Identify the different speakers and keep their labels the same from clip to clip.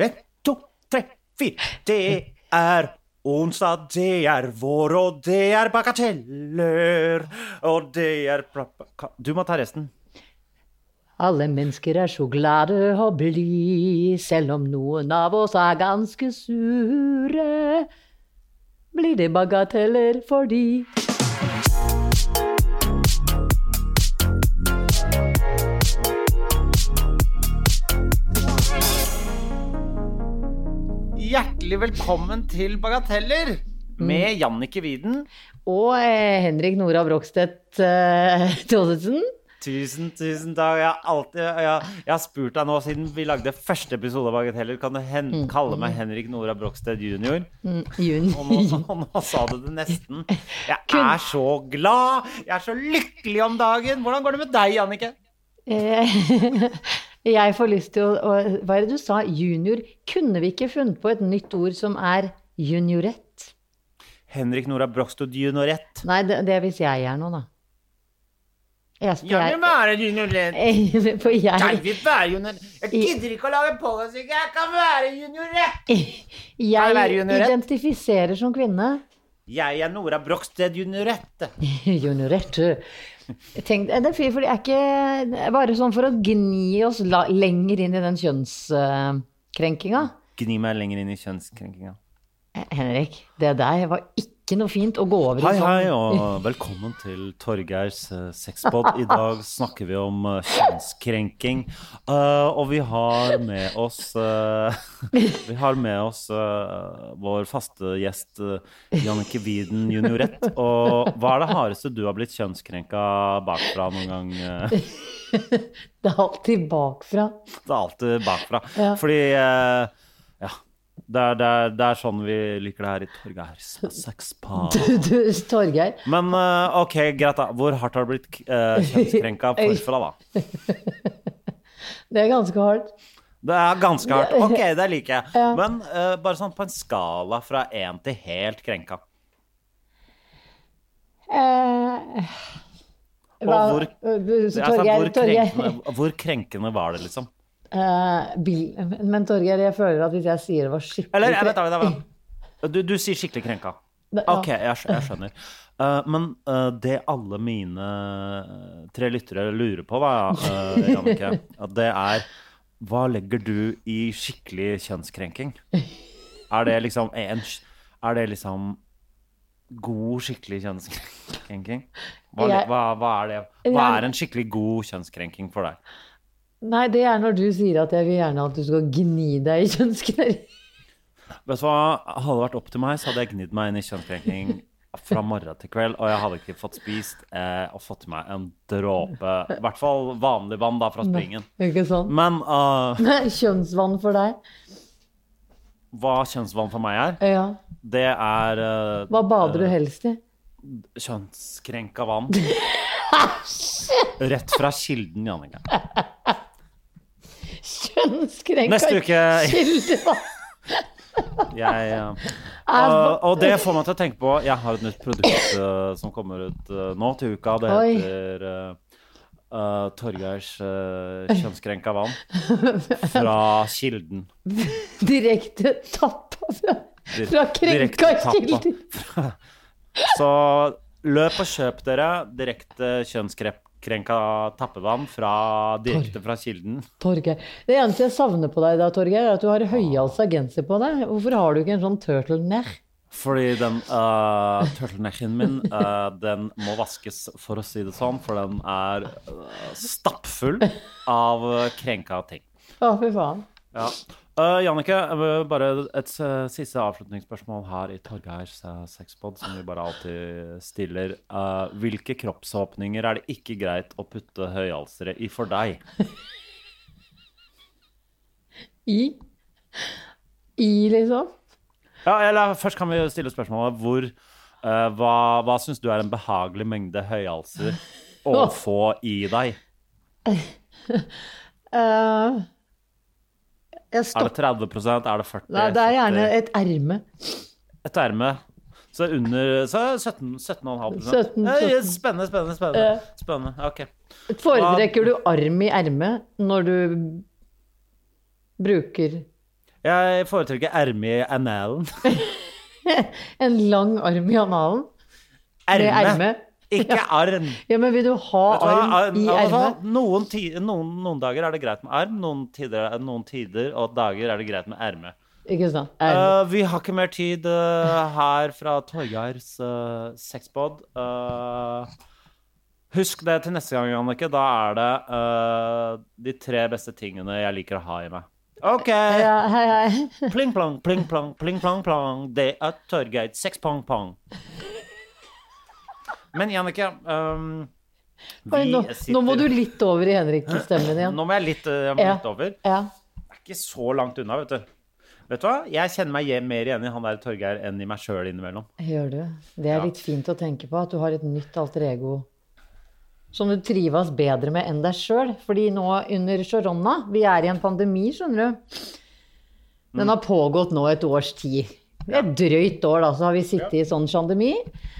Speaker 1: Ett, to, tre, fire. Det er onsdag, det er vår, og det er bagateller. Og det er bra- baka- Du må ta resten.
Speaker 2: Alle mennesker er så glade og blide, selv om noen av oss er ganske sure. Blir det bagateller for de?
Speaker 1: Hjertelig velkommen til Bagateller med Jannicke Widen.
Speaker 2: Og eh, Henrik Nora Brogstedt eh, Thodesen.
Speaker 1: Tusen, tusen takk. Jeg har, alltid, jeg, jeg har spurt deg nå siden vi lagde første episode av Bagateller. Kan du hen, kalle meg Henrik Nora Brogstad jr.?
Speaker 2: Mm, Jun.
Speaker 1: Og nå, og nå sa du det nesten. Jeg er så glad! Jeg er så lykkelig om dagen! Hvordan går det med deg, Jannicke?
Speaker 2: Eh, jeg får lyst til å, å Hva er det du sa? Junior? Kunne vi ikke funnet på et nytt ord som er juniorett?
Speaker 1: Henrik Nora Brogstad juniorett.
Speaker 2: Nei, det, det er hvis jeg er noe, da. Jeg, for
Speaker 1: Jeg vil
Speaker 2: jeg,
Speaker 1: være juniorett.
Speaker 2: for
Speaker 1: Jeg
Speaker 2: jeg,
Speaker 1: vil være juniorett. Jeg gidder ikke å lage pågangssyke. Jeg kan være juniorett! jeg være
Speaker 2: jeg
Speaker 1: juniorett?
Speaker 2: identifiserer som kvinne.
Speaker 1: Jeg er Nora Brogstad juniorett.
Speaker 2: Juniorert. Tenk, det er fint, for det er ikke det er bare sånn for å gni oss la, lenger inn i den kjønnskrenkinga. Eh,
Speaker 1: Gni meg lenger inn i kjønnskrenkinga.
Speaker 2: Henrik, det der var ikke noe fint å gå over i
Speaker 1: Hei,
Speaker 2: sånn.
Speaker 1: hei, og velkommen til Torgeirs eh, sexpod. I dag snakker vi om eh, kjønnskrenking. Eh, og vi har med oss eh, Vi har med oss eh, vår faste gjest uh, Jannicke Wieden juniorett. Og hva er det hardeste du har blitt kjønnskrenka bakfra noen gang? eh?
Speaker 2: Det er alltid bakfra.
Speaker 1: Det er alltid bakfra.
Speaker 2: Ja.
Speaker 1: Fordi eh, Ja. Det er, det, er, det er sånn vi liker det her i Torgeirs sexpod.
Speaker 2: Du, du, Torgeir.
Speaker 1: Men eh, ok, greit da. Hvor hardt har du blitt uh, kjønnskrenka forfra, da?
Speaker 2: Det er ganske hardt.
Speaker 1: Det er ganske hardt. Ok, det liker jeg.
Speaker 2: Ja.
Speaker 1: Men eh, bare sånn på en skala fra én til helt krenka.
Speaker 2: Eh,
Speaker 1: Og hvor- Det er sånn,
Speaker 2: Torgeir,
Speaker 1: hvor,
Speaker 2: Torgeir.
Speaker 1: krenkende, hvor krenkende var det, liksom?
Speaker 2: Eh, bil, men Torgeir, jeg føler at hvis jeg sier det var skikkelig
Speaker 1: Eller eh, vent, da, vent, da, vent. da. Du, du sier skikkelig krenka.
Speaker 2: Det- ja.
Speaker 1: Ok, jeg, skj- jeg skjønner. Eh, men eh, det alle mine eh, tre lyttere lurer på, da, eh, Jannicke, at det er Hva legger du i skikkelig kjønnskrenking? Er det liksom en, sk- Er det liksom god, skikkelig kjønnskrenking? Hva, le-
Speaker 2: Jeg-
Speaker 1: hva, hva er det? Hva er en skikkelig god kjønnskrenking for deg?
Speaker 2: Nei, det er når du sier at jeg vil gjerne at du skal gni deg i kjønnskneri.
Speaker 1: Vet du hva, Hadde det vært opp til meg, så hadde jeg gnidd meg inn i kjønnskrenking fra morgen til kveld, og jeg hadde ikke fått spist eh, og fått i meg en dråpe I hvert fall vanlig vann da fra springen.
Speaker 2: Ikke sånn?
Speaker 1: Men eh,
Speaker 2: Kjønnsvann for deg.
Speaker 1: hva kjønnsvann for meg er,
Speaker 2: Ja.
Speaker 1: det er eh,
Speaker 2: Hva bader du helst i?
Speaker 1: kjønnskrenka vann. Rett fra kilden, Jannicke.
Speaker 2: Kjønnskrenka
Speaker 1: Neste uke-
Speaker 2: kildevann.
Speaker 1: Jeg, eh, og, og det får meg til å tenke på Jeg har et nytt produkt eh, som kommer ut eh, nå til uka. Det
Speaker 2: Oi.
Speaker 1: heter eh, eh, Torgeirs eh, kjønnskrenka vann fra Kilden.
Speaker 2: Direkte tappa fra,
Speaker 1: Dir-
Speaker 2: fra
Speaker 1: direkte
Speaker 2: krenka
Speaker 1: tappa.
Speaker 2: kilder.
Speaker 1: Så løp og kjøp dere direkte kjønnskrenka tappevann fra, direkte fra Kilden.
Speaker 2: Torgeir. Det eneste jeg savner på deg da, Torgeir, er at du har høyhalsa genser på deg. Hvorfor har du ikke en sånn turtleneck?
Speaker 1: Fordi den uh, turtlenecken min, eh, den må vaskes, for å si det sånn, for den er eh, stappfull av eh, krenka ting.
Speaker 2: Å, fy faen.
Speaker 1: Ja. Eh, Jannicke, eh, bare et eh, siste avslutningsspørsmål her i Torgeirs uh, sexpod, som vi bare alltid stiller. Eh, hvilke kroppsåpninger er det ikke greit å putte høyhalsere i for deg?
Speaker 2: I. I, liksom.
Speaker 1: Ja, eller eh, først kan vi jo stille spørsmålet hvor, eh, hva, hva syns du er en behagelig mengde høyhalser å få i deg?
Speaker 2: Eh, jeg
Speaker 1: Er det
Speaker 2: stopper
Speaker 1: 30 Er det 40
Speaker 2: Nei, det er gjerne
Speaker 1: 70?
Speaker 2: et erme.
Speaker 1: et erme. Så under så er det 17 17,5
Speaker 2: 17,
Speaker 1: Eh,
Speaker 2: 17.
Speaker 1: Spennende, spennende, spennende. spennende. Ok.
Speaker 2: Foretrekker du arm i erme når du bruker
Speaker 1: Jeg foretrekker erme i analen.
Speaker 2: en lang arm i analen? Med erme?
Speaker 1: Ikke arm.
Speaker 2: Ja, men vil du ha
Speaker 1: Vet du hva?
Speaker 2: arm i
Speaker 1: Ar- altså,
Speaker 2: erme?
Speaker 1: Noen, ti- noen, noen dager er det greit med arm, noen tider, noen tider og dager er det greit med erme.
Speaker 2: Ikke sant? Erme.
Speaker 1: Eh, vi har ikke mer tid eh, her fra Torgeirs uh, sexpod. Eh, husk det til neste gang, Annike. Da er det eh, de tre beste tingene jeg liker å ha i meg. OK!
Speaker 2: Ja, hei, hei.
Speaker 1: Pling plong, pling plong, pling plong plong. Det er Torgeir sexpong-pong. Men Jannicke um,
Speaker 2: Oi, nå, nå må du
Speaker 1: sitter-
Speaker 2: litt over i Henrik-stemmen igjen.
Speaker 1: Nå må jeg litt, eh, jeg må
Speaker 2: Ja.
Speaker 1: litt over.
Speaker 2: Ja.
Speaker 1: Det er ikke så langt unna, vet du. Vet du hva? Jeg kjenner meg igjen- mer igjen i han der Torgeir enn i meg sjøl innimellom.
Speaker 2: Gjør du? Det er litt fint å tenke på, at du har et nytt alter ego som du trives bedre med enn deg sjøl. Fordi nå under korona, vi er i en pandemi, skjønner du. Den har pågått nå et års tid. Et drøyt år, da, så har vi sittet i sånn pandemi.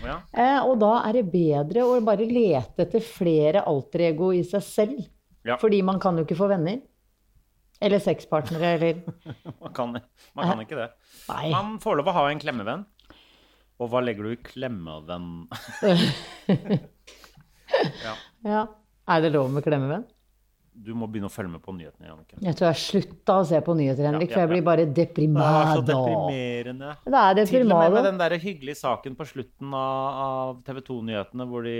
Speaker 1: Ja.
Speaker 2: Eh, og da er det bedre å bare lete etter flere alter ego i seg selv.
Speaker 1: Ja.
Speaker 2: Fordi man kan jo ikke få venner. Eller sexpartnere, eller
Speaker 1: Man, kan, man kan ikke det.
Speaker 2: Nei.
Speaker 1: Man får lov å ha en klemmevenn. Og hva legger du i klemmevenn?
Speaker 2: Ja. Er det lov med klemmevenn?
Speaker 1: Du må begynne å følge med på nyhetene, Jannicke.
Speaker 2: Jeg tror jeg slutta å se på nyheter, Henrik,
Speaker 1: ja,
Speaker 2: for jeg
Speaker 1: ja.
Speaker 2: blir bare
Speaker 1: Det er så
Speaker 2: deprimado.
Speaker 1: deprimerende.
Speaker 2: Det er
Speaker 1: Til og med med
Speaker 2: deprimado.
Speaker 1: den der hyggelige saken på slutten av, av TV 2-nyhetene hvor de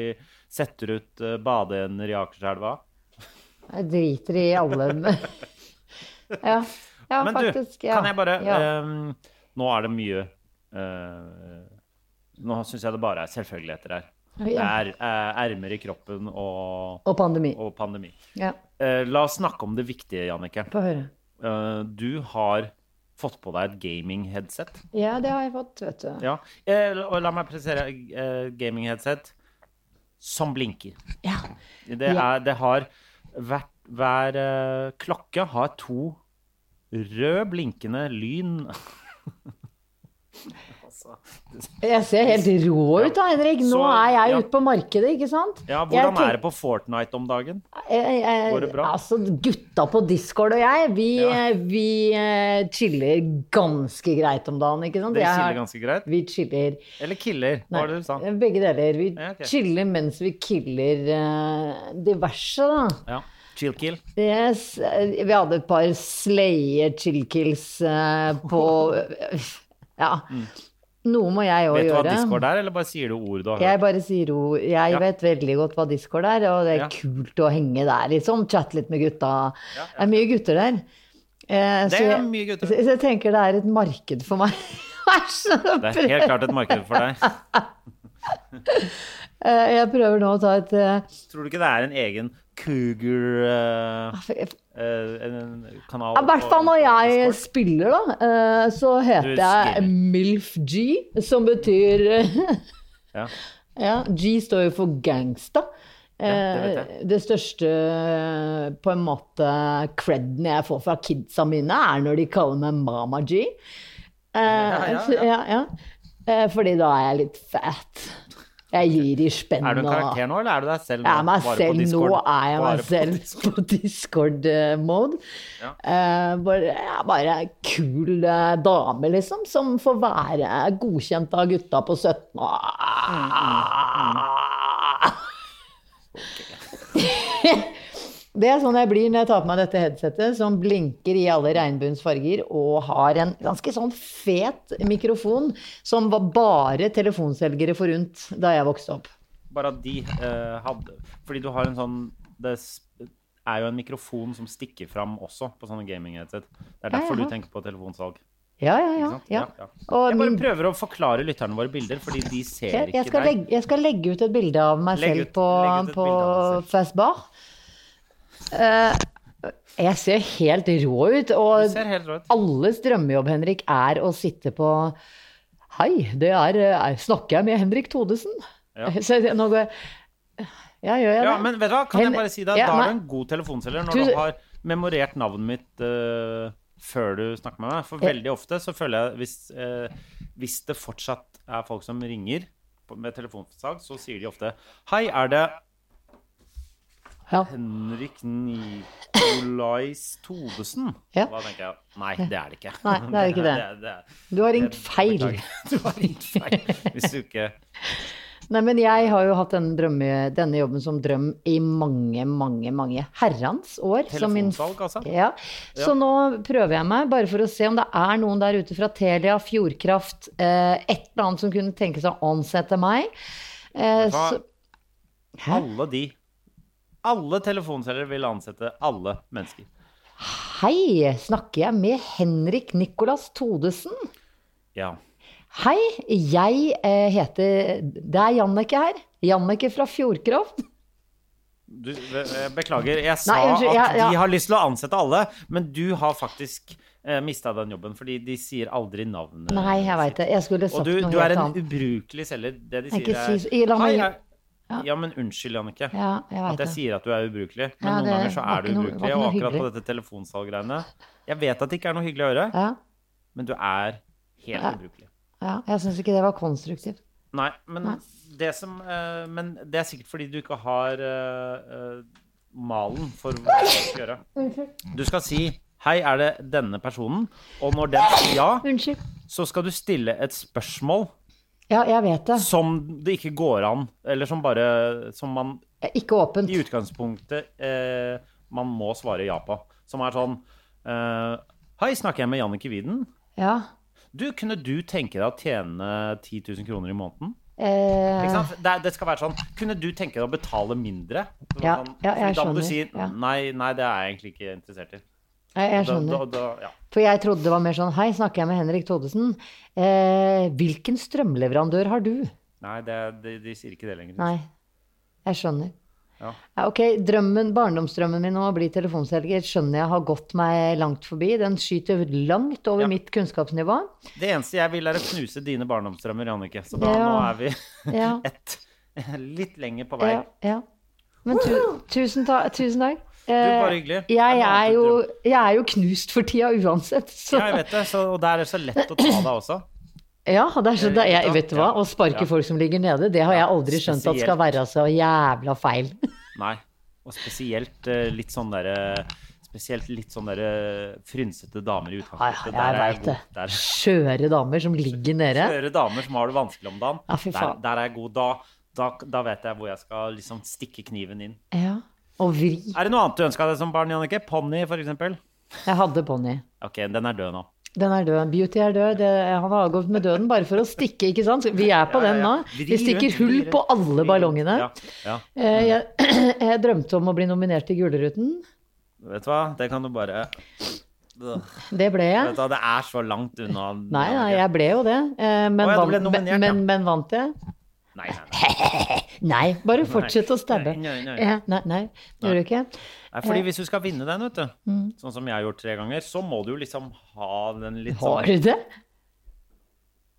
Speaker 1: setter ut eh, badeender i Akerselva.
Speaker 2: Jeg driter i alle Ja, ja
Speaker 1: Men du,
Speaker 2: faktisk. Ja.
Speaker 1: kan jeg bare
Speaker 2: ja.
Speaker 1: ehm, Nå er det mye eh, Nå syns jeg det bare er selvfølgeligheter her. Det
Speaker 2: Ja.
Speaker 1: er eh, ermer i kroppen og,
Speaker 2: Og pandemi.
Speaker 1: og pandemi.
Speaker 2: Ja,
Speaker 1: Eh, la oss snakke om det viktige, Jannicke.
Speaker 2: få høre.
Speaker 1: Eh, du har fått på deg et gaming-headset.
Speaker 2: Ja, det har jeg fått, vet du.
Speaker 1: Ja. Eh, la- og la meg presisere eh, gaming-headset som blinker.
Speaker 2: Ja.
Speaker 1: Det, er, det har hvert, Hver eh, klokke har to rød blinkende lyn. Altså.
Speaker 2: Jeg ser helt rå ut da, Henrik. Nå
Speaker 1: Så-
Speaker 2: er jeg
Speaker 1: ja.
Speaker 2: ute på markedet, ikke sant?
Speaker 1: Ja,
Speaker 2: Jeg
Speaker 1: Hvordan er det på Fortnite om dagen?
Speaker 2: Jeg, jeg,
Speaker 1: Går det bra?
Speaker 2: Altså, gutta på Discord og jeg, vi,
Speaker 1: Ja.
Speaker 2: vi eh, chiller ganske greit om dagen, ikke sant?
Speaker 1: Det
Speaker 2: Jeg
Speaker 1: chiller
Speaker 2: har-
Speaker 1: ganske greit.
Speaker 2: Vi chiller
Speaker 1: Eller killer,
Speaker 2: Nei, eh,
Speaker 1: var det du sa.
Speaker 2: Begge deler. Vi
Speaker 1: Ja, ok.
Speaker 2: chiller mens vi killer eh, diverse, da.
Speaker 1: Ja. Chill kill.
Speaker 2: Yes, eh, vi hadde et par slayer chillkills eh, på Ja. Noe må jeg
Speaker 1: Mm.
Speaker 2: òg
Speaker 1: Vet du hva
Speaker 2: gjøre.
Speaker 1: Discord er, eller bare sier du ord du har
Speaker 2: Jeg
Speaker 1: hørt?
Speaker 2: bare sier ro. Jeg vet veldig godt hva Discord er, og det er
Speaker 1: Ja.
Speaker 2: kult å henge der, liksom. Chatte litt med gutta. Det er mye gutter der. Eh,
Speaker 1: Det
Speaker 2: så
Speaker 1: er
Speaker 2: jeg-
Speaker 1: mye gutter.
Speaker 2: Så, så jeg tenker det er et marked for meg. Æsj!
Speaker 1: Det er helt klart et marked for deg.
Speaker 2: Eh, Jeg prøver nå å ta et eh,
Speaker 1: Tror du ikke det er en egen eh, cougar-kanal?
Speaker 2: eh, Ja, I hvert fall når jeg spiller, da, eh, så heter
Speaker 1: Du
Speaker 2: jeg
Speaker 1: spiller.
Speaker 2: Milf G, som betyr
Speaker 1: Ja.
Speaker 2: Ja, G står jo for gangsta.
Speaker 1: Ja, det vet
Speaker 2: Eh, det største eh, på en måte creden jeg får fra kidsa mine, er når de kaller meg Mama G. Eh,
Speaker 1: ja,
Speaker 2: så- ja, ja. Eh, fordi da er jeg litt fat. Jeg gir i spenn
Speaker 1: Er du en
Speaker 2: og
Speaker 1: karakter nå, eller er du deg selv nå?
Speaker 2: jeg er
Speaker 1: Bare
Speaker 2: meg
Speaker 1: på
Speaker 2: selv nå.
Speaker 1: Discord.
Speaker 2: er jeg
Speaker 1: Bare på
Speaker 2: meg
Speaker 1: Discord.
Speaker 2: selv på Discord-mode. Eh,
Speaker 1: Ja.
Speaker 2: bare, jeg er bare en kul eh, dame, liksom, som får være godkjent av gutta på 17.
Speaker 1: Mm,
Speaker 2: Det er sånn jeg blir når jeg tar på meg dette headsetet, som blinker i alle regnbuens farger, og har en ganske sånn fet mikrofon som var bare telefonselgere forunt da jeg vokste opp.
Speaker 1: Bare at de eh, hadde Fordi du har en sånn Det s- er jo en mikrofon som stikker fram også på sånne gaming-headset. Det er derfor
Speaker 2: ja.
Speaker 1: du tenker på telefonsalg.
Speaker 2: Ja, ja, ja.
Speaker 1: ikke sant?
Speaker 2: ja.
Speaker 1: Ja,
Speaker 2: Og
Speaker 1: Jeg bare
Speaker 2: min-
Speaker 1: prøver å forklare lytterne våre bilder, fordi de ser
Speaker 2: jeg, jeg,
Speaker 1: ikke
Speaker 2: skal
Speaker 1: deg.
Speaker 2: legge, jeg skal legge ut et bilde av meg
Speaker 1: Legg
Speaker 2: selv
Speaker 1: ut-
Speaker 2: på,
Speaker 1: legg ut et
Speaker 2: på
Speaker 1: bilde av deg selv.
Speaker 2: Fastbar. Eh, Jeg ser helt rå ut, og
Speaker 1: Du ser helt rå ut.
Speaker 2: alles drømmejobb, Henrik, er å sitte på Hei, det er eh, Snakker jeg med Henrik Thodesen?
Speaker 1: Ja.
Speaker 2: Så jeg- nå går jeg Ja, gjør jeg det?
Speaker 1: Ja, men vet du hva, kan
Speaker 2: Hen-
Speaker 1: jeg bare si det?
Speaker 2: Ja,
Speaker 1: da
Speaker 2: nei.
Speaker 1: er du en god telefonselger når
Speaker 2: Du-
Speaker 1: du, har memorert navnet mitt eh, før du snakker med meg. For veldig ofte så føler jeg hvis, eh, hvis det fortsatt er folk som ringer på- med telefonsalg, så sier de ofte Hei, er det
Speaker 2: Ja.
Speaker 1: Henrik Nikolais Thodesen?
Speaker 2: Ja.
Speaker 1: Da tenker jeg nei, det er det ikke.
Speaker 2: Nei, det er ikke det.
Speaker 1: er- det er-
Speaker 2: Du har ringt
Speaker 1: det-
Speaker 2: feil.
Speaker 1: beklager. Du har ringt feil. Hvis du ikke
Speaker 2: Nei, men jeg har jo hatt denne, drømme, denne jobben som drøm i mange, mange, mange herrens år. som min
Speaker 1: Telefonsalg, altså?
Speaker 2: Ja. Så nå prøver jeg meg, bare for å se om det er noen der ute fra Telia, Fjordkraft, eh, et eller annet som kunne tenke seg å ansette meg. Eh,
Speaker 1: Hva?
Speaker 2: så,
Speaker 1: Alle de. Alle telefonselgere vil ansette alle mennesker.
Speaker 2: hei, snakker jeg med Henrik Nikolas Todesen?
Speaker 1: Ja.
Speaker 2: Hei, jeg eh, heter Det er Janneke her. Janneke fra Fjordkraft.
Speaker 1: Du, eh, beklager, jeg sa
Speaker 2: unnskyld,
Speaker 1: at
Speaker 2: ja, ja.
Speaker 1: de har lyst til å ansette alle, men du har faktisk eh, mista den jobben, fordi de sier aldri navnet
Speaker 2: Nei, jeg veit det. Jeg skulle
Speaker 1: Og
Speaker 2: sagt
Speaker 1: du,
Speaker 2: noe
Speaker 1: du er
Speaker 2: helt
Speaker 1: en
Speaker 2: annet.
Speaker 1: ubrukelig selger. Det de
Speaker 2: Jeg
Speaker 1: sier,
Speaker 2: ikke
Speaker 1: er
Speaker 2: si så- la
Speaker 1: Hei,
Speaker 2: meg-
Speaker 1: jeg- Ja, men unnskyld, Jannicke.
Speaker 2: Ja, jeg
Speaker 1: At
Speaker 2: vet
Speaker 1: jeg
Speaker 2: det.
Speaker 1: sier at du er ubrukelig. Men
Speaker 2: Ja,
Speaker 1: noen
Speaker 2: det
Speaker 1: ganger så
Speaker 2: var
Speaker 1: er du
Speaker 2: ikke noe- var
Speaker 1: ubrukelig.
Speaker 2: ikke
Speaker 1: Og
Speaker 2: noe
Speaker 1: akkurat på
Speaker 2: hyggelig.
Speaker 1: dette telefonsalggreiene Jeg vet at det ikke er noe hyggelig å gjøre,
Speaker 2: Ja,
Speaker 1: men du er helt ubrukelig.
Speaker 2: ja, jeg syns ikke det var konstruktivt.
Speaker 1: Nei, men det som eh, Men det er sikkert fordi du ikke har eh, eh, malen for hva du skal gjøre. Du skal si Hei, er det denne personen? Og når den sier ja,
Speaker 2: Unnskyld.
Speaker 1: så skal du stille et spørsmål
Speaker 2: Ja, jeg vet det.
Speaker 1: som det ikke går an, eller som bare Som man
Speaker 2: Ikke åpent.
Speaker 1: i utgangspunktet eh, man må svare ja på. Som er sånn eh, Hei, snakker jeg med Jannicke Widen?
Speaker 2: Ja.
Speaker 1: Du, kunne du tenke deg å tjene 10 000 kroner i måneden?
Speaker 2: Eh,
Speaker 1: Ikke sant? Det, er- det skal være sånn Kunne du tenke deg å betale mindre? Det var
Speaker 2: Ja,
Speaker 1: sånn,
Speaker 2: ja, jeg
Speaker 1: da må du si
Speaker 2: skjønner, ja.
Speaker 1: nei, nei, det er jeg egentlig ikke interessert i.
Speaker 2: jeg, jeg
Speaker 1: Da, da,
Speaker 2: skjønner.
Speaker 1: da, ja.
Speaker 2: For jeg trodde det var mer sånn Hei, snakker jeg med Henrik Thodesen? Eh, hvilken strømleverandør har du?
Speaker 1: Nei, det, de, de sier ikke det lenger.
Speaker 2: Nei. Jeg skjønner.
Speaker 1: Ja.
Speaker 2: Ja, ok, drømmen, barndomsdrømmen min om å bli telefonselger skjønner jeg har gått meg langt forbi. Den skyter langt over
Speaker 1: Ja.
Speaker 2: mitt kunnskapsnivå.
Speaker 1: Det eneste jeg vil, er å knuse dine barndomsdrømmer, Jannicke. Så da, nå
Speaker 2: Ja.
Speaker 1: er vi
Speaker 2: Ja.
Speaker 1: ett litt lenger på vei.
Speaker 2: Ja, ja. Men tu, tusen, ta, tusen takk.
Speaker 1: bare
Speaker 2: Eh,
Speaker 1: hyggelig.
Speaker 2: Jeg
Speaker 1: Det er noe
Speaker 2: er,
Speaker 1: annet
Speaker 2: jo,
Speaker 1: å
Speaker 2: jeg er jo knust for tida uansett. Så.
Speaker 1: Ja, jeg vet det. Så, og der er det så lett å ta deg også.
Speaker 2: Ja, det er så, det, jeg,
Speaker 1: Eh, Ja,
Speaker 2: vet du hva,
Speaker 1: ja.
Speaker 2: å sparke
Speaker 1: Ja.
Speaker 2: folk som ligger nede, det har jeg
Speaker 1: Ja,
Speaker 2: aldri skjønt at skal
Speaker 1: spesielt.
Speaker 2: være så jævla feil.
Speaker 1: Nei. Og spesielt eh, litt sånn derre Spesielt litt sånn derre frynsete damer i utgangspunktet.
Speaker 2: Ja, jeg
Speaker 1: Der er jeg god.
Speaker 2: vet det.
Speaker 1: Der.
Speaker 2: Skjøre damer som ligger nede.
Speaker 1: Høre damer som har det vanskelig om dagen.
Speaker 2: Ja, fy
Speaker 1: der,
Speaker 2: faen.
Speaker 1: der er jeg god. Da, da, da vet jeg hvor jeg skal liksom stikke kniven inn.
Speaker 2: Ja. Og vri.
Speaker 1: Er det noe annet du ønska deg som barn, Jannicke? Ponni, for eksempel?
Speaker 2: Jeg hadde ponni.
Speaker 1: OK, den er død nå.
Speaker 2: Den er død. Beauty er død. Det, han har avgått med døden bare for å stikke, ikke sant? Vi er på
Speaker 1: Ja, ja,
Speaker 2: den
Speaker 1: ja.
Speaker 2: nå.
Speaker 1: Vri
Speaker 2: Vi stikker
Speaker 1: rundt,
Speaker 2: hull
Speaker 1: vri
Speaker 2: på
Speaker 1: rundt, vri
Speaker 2: alle
Speaker 1: rundt.
Speaker 2: ballongene.
Speaker 1: Ja, ja.
Speaker 2: Eh, Jeg, jeg drømte om å bli nominert til Gullruten.
Speaker 1: Vet du hva, det kan du bare Vet
Speaker 2: Det ble jeg.
Speaker 1: du hva, det er så langt unna.
Speaker 2: Nei, nei,
Speaker 1: Jannicke.
Speaker 2: jeg ble jo det. eh,
Speaker 1: Å,
Speaker 2: Men,
Speaker 1: ja, du ble
Speaker 2: vant,
Speaker 1: nominert, ja.
Speaker 2: men, men, men vant jeg?
Speaker 1: nei, nei, nei.
Speaker 2: Nei, bare fortsett å stabbe.
Speaker 1: Nei, nei, nei.
Speaker 2: Ja, Nei, nei, gjør du ikke?
Speaker 1: Nei, fordi hvis du skal vinne den, vet du,
Speaker 2: Mm.
Speaker 1: sånn som jeg har gjort tre ganger, så må du jo liksom ha den litt
Speaker 2: Har
Speaker 1: sånn
Speaker 2: du det?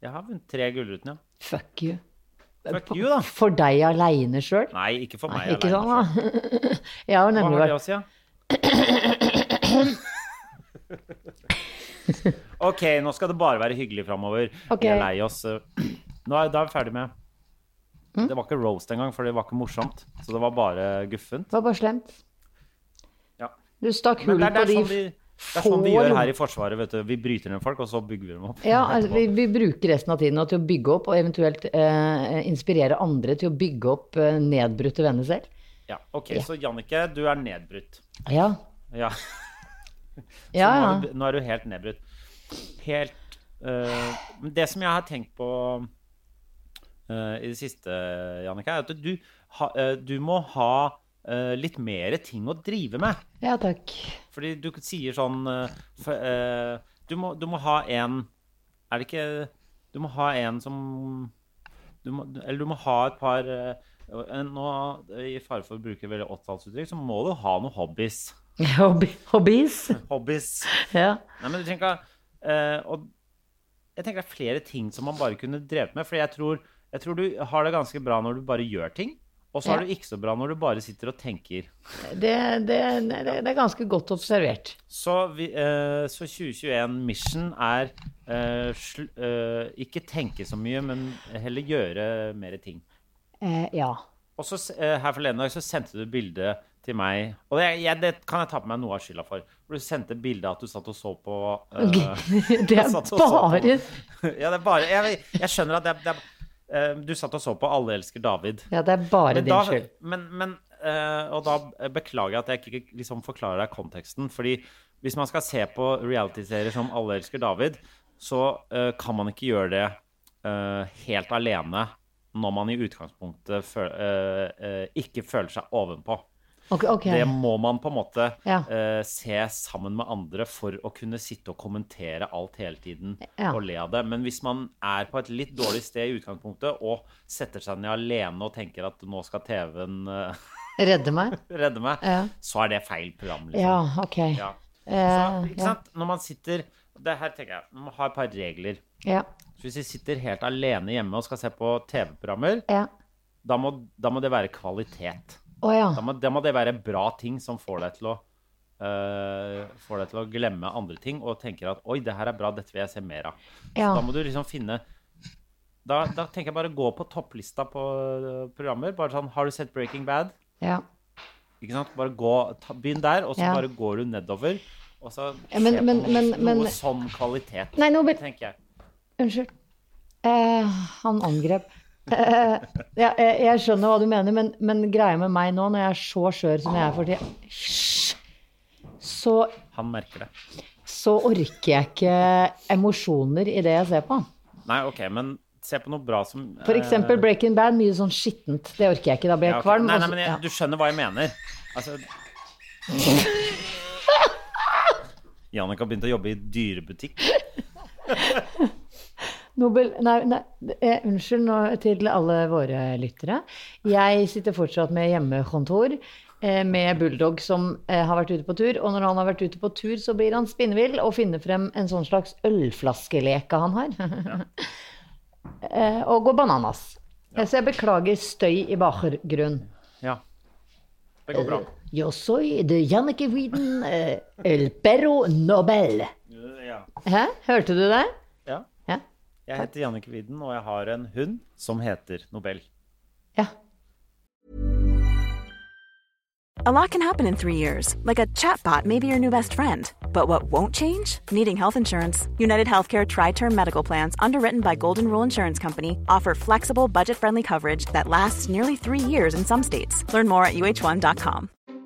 Speaker 1: Jeg har vunnet tre Gullruten, ja.
Speaker 2: Fuck you.
Speaker 1: Fuck you, da.
Speaker 2: For deg aleine sjøl?
Speaker 1: Nei, ikke for meg.
Speaker 2: Ikke
Speaker 1: alene, altså.
Speaker 2: sånn, da. Jeg har
Speaker 1: Hva
Speaker 2: nemlig
Speaker 1: har det
Speaker 2: vært
Speaker 1: å si, da? OK, nå skal det bare være hyggelig framover.
Speaker 2: Ok.
Speaker 1: Vi er lei oss. Nå er, da er vi ferdig med
Speaker 2: Hm?
Speaker 1: Det var ikke roast engang, for det var ikke morsomt. Så det var bare guffent.
Speaker 2: Det var bare slemt.
Speaker 1: Ja.
Speaker 2: Du stakk
Speaker 1: Men
Speaker 2: hull
Speaker 1: det er, det,
Speaker 2: på
Speaker 1: er
Speaker 2: de
Speaker 1: sånn vi, det er sånn vi
Speaker 2: få
Speaker 1: gjør
Speaker 2: rom.
Speaker 1: her i Forsvaret. vet du. Vi bryter ned folk, og så bygger vi dem opp.
Speaker 2: Ja, altså, vi, vi bruker resten av tiden nå til å bygge opp, og eventuelt eh, inspirere andre til å bygge opp eh, nedbrutte venner selv.
Speaker 1: Ja, OK, så Jannicke, du er nedbrutt.
Speaker 2: Ja.
Speaker 1: Ja. Nå,
Speaker 2: Ja, ja.
Speaker 1: er du, nå er du helt nedbrutt. Helt øh, Men det som jeg har tenkt på øh, i det siste, Jannicke, er at du, ha, øh, du må ha øh, litt mer ting å drive med.
Speaker 2: Ja, takk.
Speaker 1: Fordi du sier sånn øh, for, øh, du, må, du må ha en Er det ikke Du må ha en som du må, Eller du må ha et eh, par øh, en- Nå, øh, I fare for å bruke veldig åttitallsuttrykk, så må du ha noen hobbies.
Speaker 2: Hobby, hobbies.
Speaker 1: Hobbies.
Speaker 2: Ja.
Speaker 1: Nei, men du tenker, eh, og jeg tenker det er flere ting som man bare kunne drevet med. For jeg tror, jeg tror du har det ganske bra når du bare gjør ting. Og så har
Speaker 2: Ja.
Speaker 1: du ikke så bra når du bare sitter og tenker.
Speaker 2: Det, det, det, det er ganske godt observert.
Speaker 1: Så, vi, eh, så 2021 Mission er eh, sl eh, ikke tenke så mye, men heller gjøre mer ting.
Speaker 2: Eh, ja.
Speaker 1: Og så s- eh, her forleden dag så sendte du bilde til meg Og jeg, jeg, det kan jeg ta på meg noe av skylda for. For du sendte bilde av at du satt og så på eh,
Speaker 2: Det er
Speaker 1: satt og så på-
Speaker 2: bare
Speaker 1: Ja, det er bare Jeg, jeg skjønner at det er, det er eh, Du satt og så på Alle elsker David.
Speaker 2: Ja, det er bare
Speaker 1: Men
Speaker 2: din
Speaker 1: da,
Speaker 2: skyld.
Speaker 1: men, men eh, Og da beklager jeg at jeg ikke- ikke liksom forklarer deg konteksten. Fordi hvis man skal se på realityserier som Alle elsker David, så eh, kan man ikke gjøre det eh, helt alene når man i utgangspunktet føl eh, eh, ikke føler seg ovenpå.
Speaker 2: Ok, ok.
Speaker 1: Det må man på en måte
Speaker 2: Ja.
Speaker 1: eh, se sammen med andre for å kunne sitte og kommentere alt hele tiden
Speaker 2: Ja.
Speaker 1: og le av det. Men hvis man er på et litt dårlig sted i utgangspunktet og setter seg ned alene og tenker at nå skal TV-en eh,
Speaker 2: Redde meg?
Speaker 1: redde meg,
Speaker 2: Ja.
Speaker 1: så er det feil program. liksom.
Speaker 2: Ja, ok.
Speaker 1: Ja.
Speaker 2: Eh,
Speaker 1: Så, ikke
Speaker 2: ja.
Speaker 1: sant? Når man sitter det Her tenker jeg, man har et par regler.
Speaker 2: Ja.
Speaker 1: Så hvis vi sitter helt alene hjemme og skal se på TV-programmer,
Speaker 2: ja.
Speaker 1: da, må- da må det være kvalitet.
Speaker 2: Å ja.
Speaker 1: Da må, da må det være bra ting som får deg til å eh, får deg til å glemme andre ting og tenker at 'oi, det her er bra, dette vil jeg se mer av'.
Speaker 2: Ja.
Speaker 1: Så da må du liksom finne da, da tenker jeg bare gå på topplista på eh, programmer. Bare sånn 'Har du sett Breaking Bad?'
Speaker 2: ja.
Speaker 1: Ikke sant? Bare gå, ta, Begynn der, og så
Speaker 2: Ja.
Speaker 1: bare går du nedover. Og så
Speaker 2: Ja, men-
Speaker 1: se på
Speaker 2: men-
Speaker 1: noe,
Speaker 2: men- men-
Speaker 1: noe sånn kvalitet,
Speaker 2: Nei, nå ble
Speaker 1: tenker jeg.
Speaker 2: Unnskyld. Eh, han angrep. Eh, ja, jeg, jeg skjønner hva du mener, men, men greia med meg nå, når jeg er så skjør som jeg er for tida Hysj! så,
Speaker 1: Han merker det.
Speaker 2: så orker jeg ikke emosjoner i det jeg ser på.
Speaker 1: Nei, OK, men se på noe bra som
Speaker 2: For
Speaker 1: eh,
Speaker 2: eksempel Breaking Bad, mye sånn skittent. Det orker jeg ikke, da blir
Speaker 1: Ja,
Speaker 2: jeg
Speaker 1: ok.
Speaker 2: kvalm.
Speaker 1: Nei,
Speaker 2: og
Speaker 1: nei,
Speaker 2: så-
Speaker 1: men jeg,
Speaker 2: ja.
Speaker 1: du skjønner hva jeg mener. Altså Jannik har begynt å jobbe i dyrebutikk.
Speaker 2: Nobel, nei, nei, eh, unnskyld nå til alle våre lyttere. Jeg sitter fortsatt med hjemmekontor eh, med Bulldog som eh, har vært ute på tur. Og når han har vært ute på tur, så blir han spinnevill og finner frem en sånn slags ølflaskeleke han har. eh, og går bananas. Eh, Så jeg beklager støy i bakgrunn. Eh,
Speaker 1: Ja. Det går bra.
Speaker 2: Yo soy de Jannicke Wieden, eh, el perro Nobel.
Speaker 1: Ja.
Speaker 2: Hæ? Hørte du det?
Speaker 1: ja.
Speaker 2: Ja.
Speaker 1: Jeg heter Jannik Widen, og jeg har en hund som heter Nobel.
Speaker 2: ja.
Speaker 3: A lot can happen in three years, like a chatbot may be your new best friend. But what won't change? Needing health insurance. United Healthcare Tri Term Medical Plans, underwritten by Golden Rule Insurance Company, offer flexible, budget friendly coverage that lasts nearly three years in some states. Learn more at uh1.com.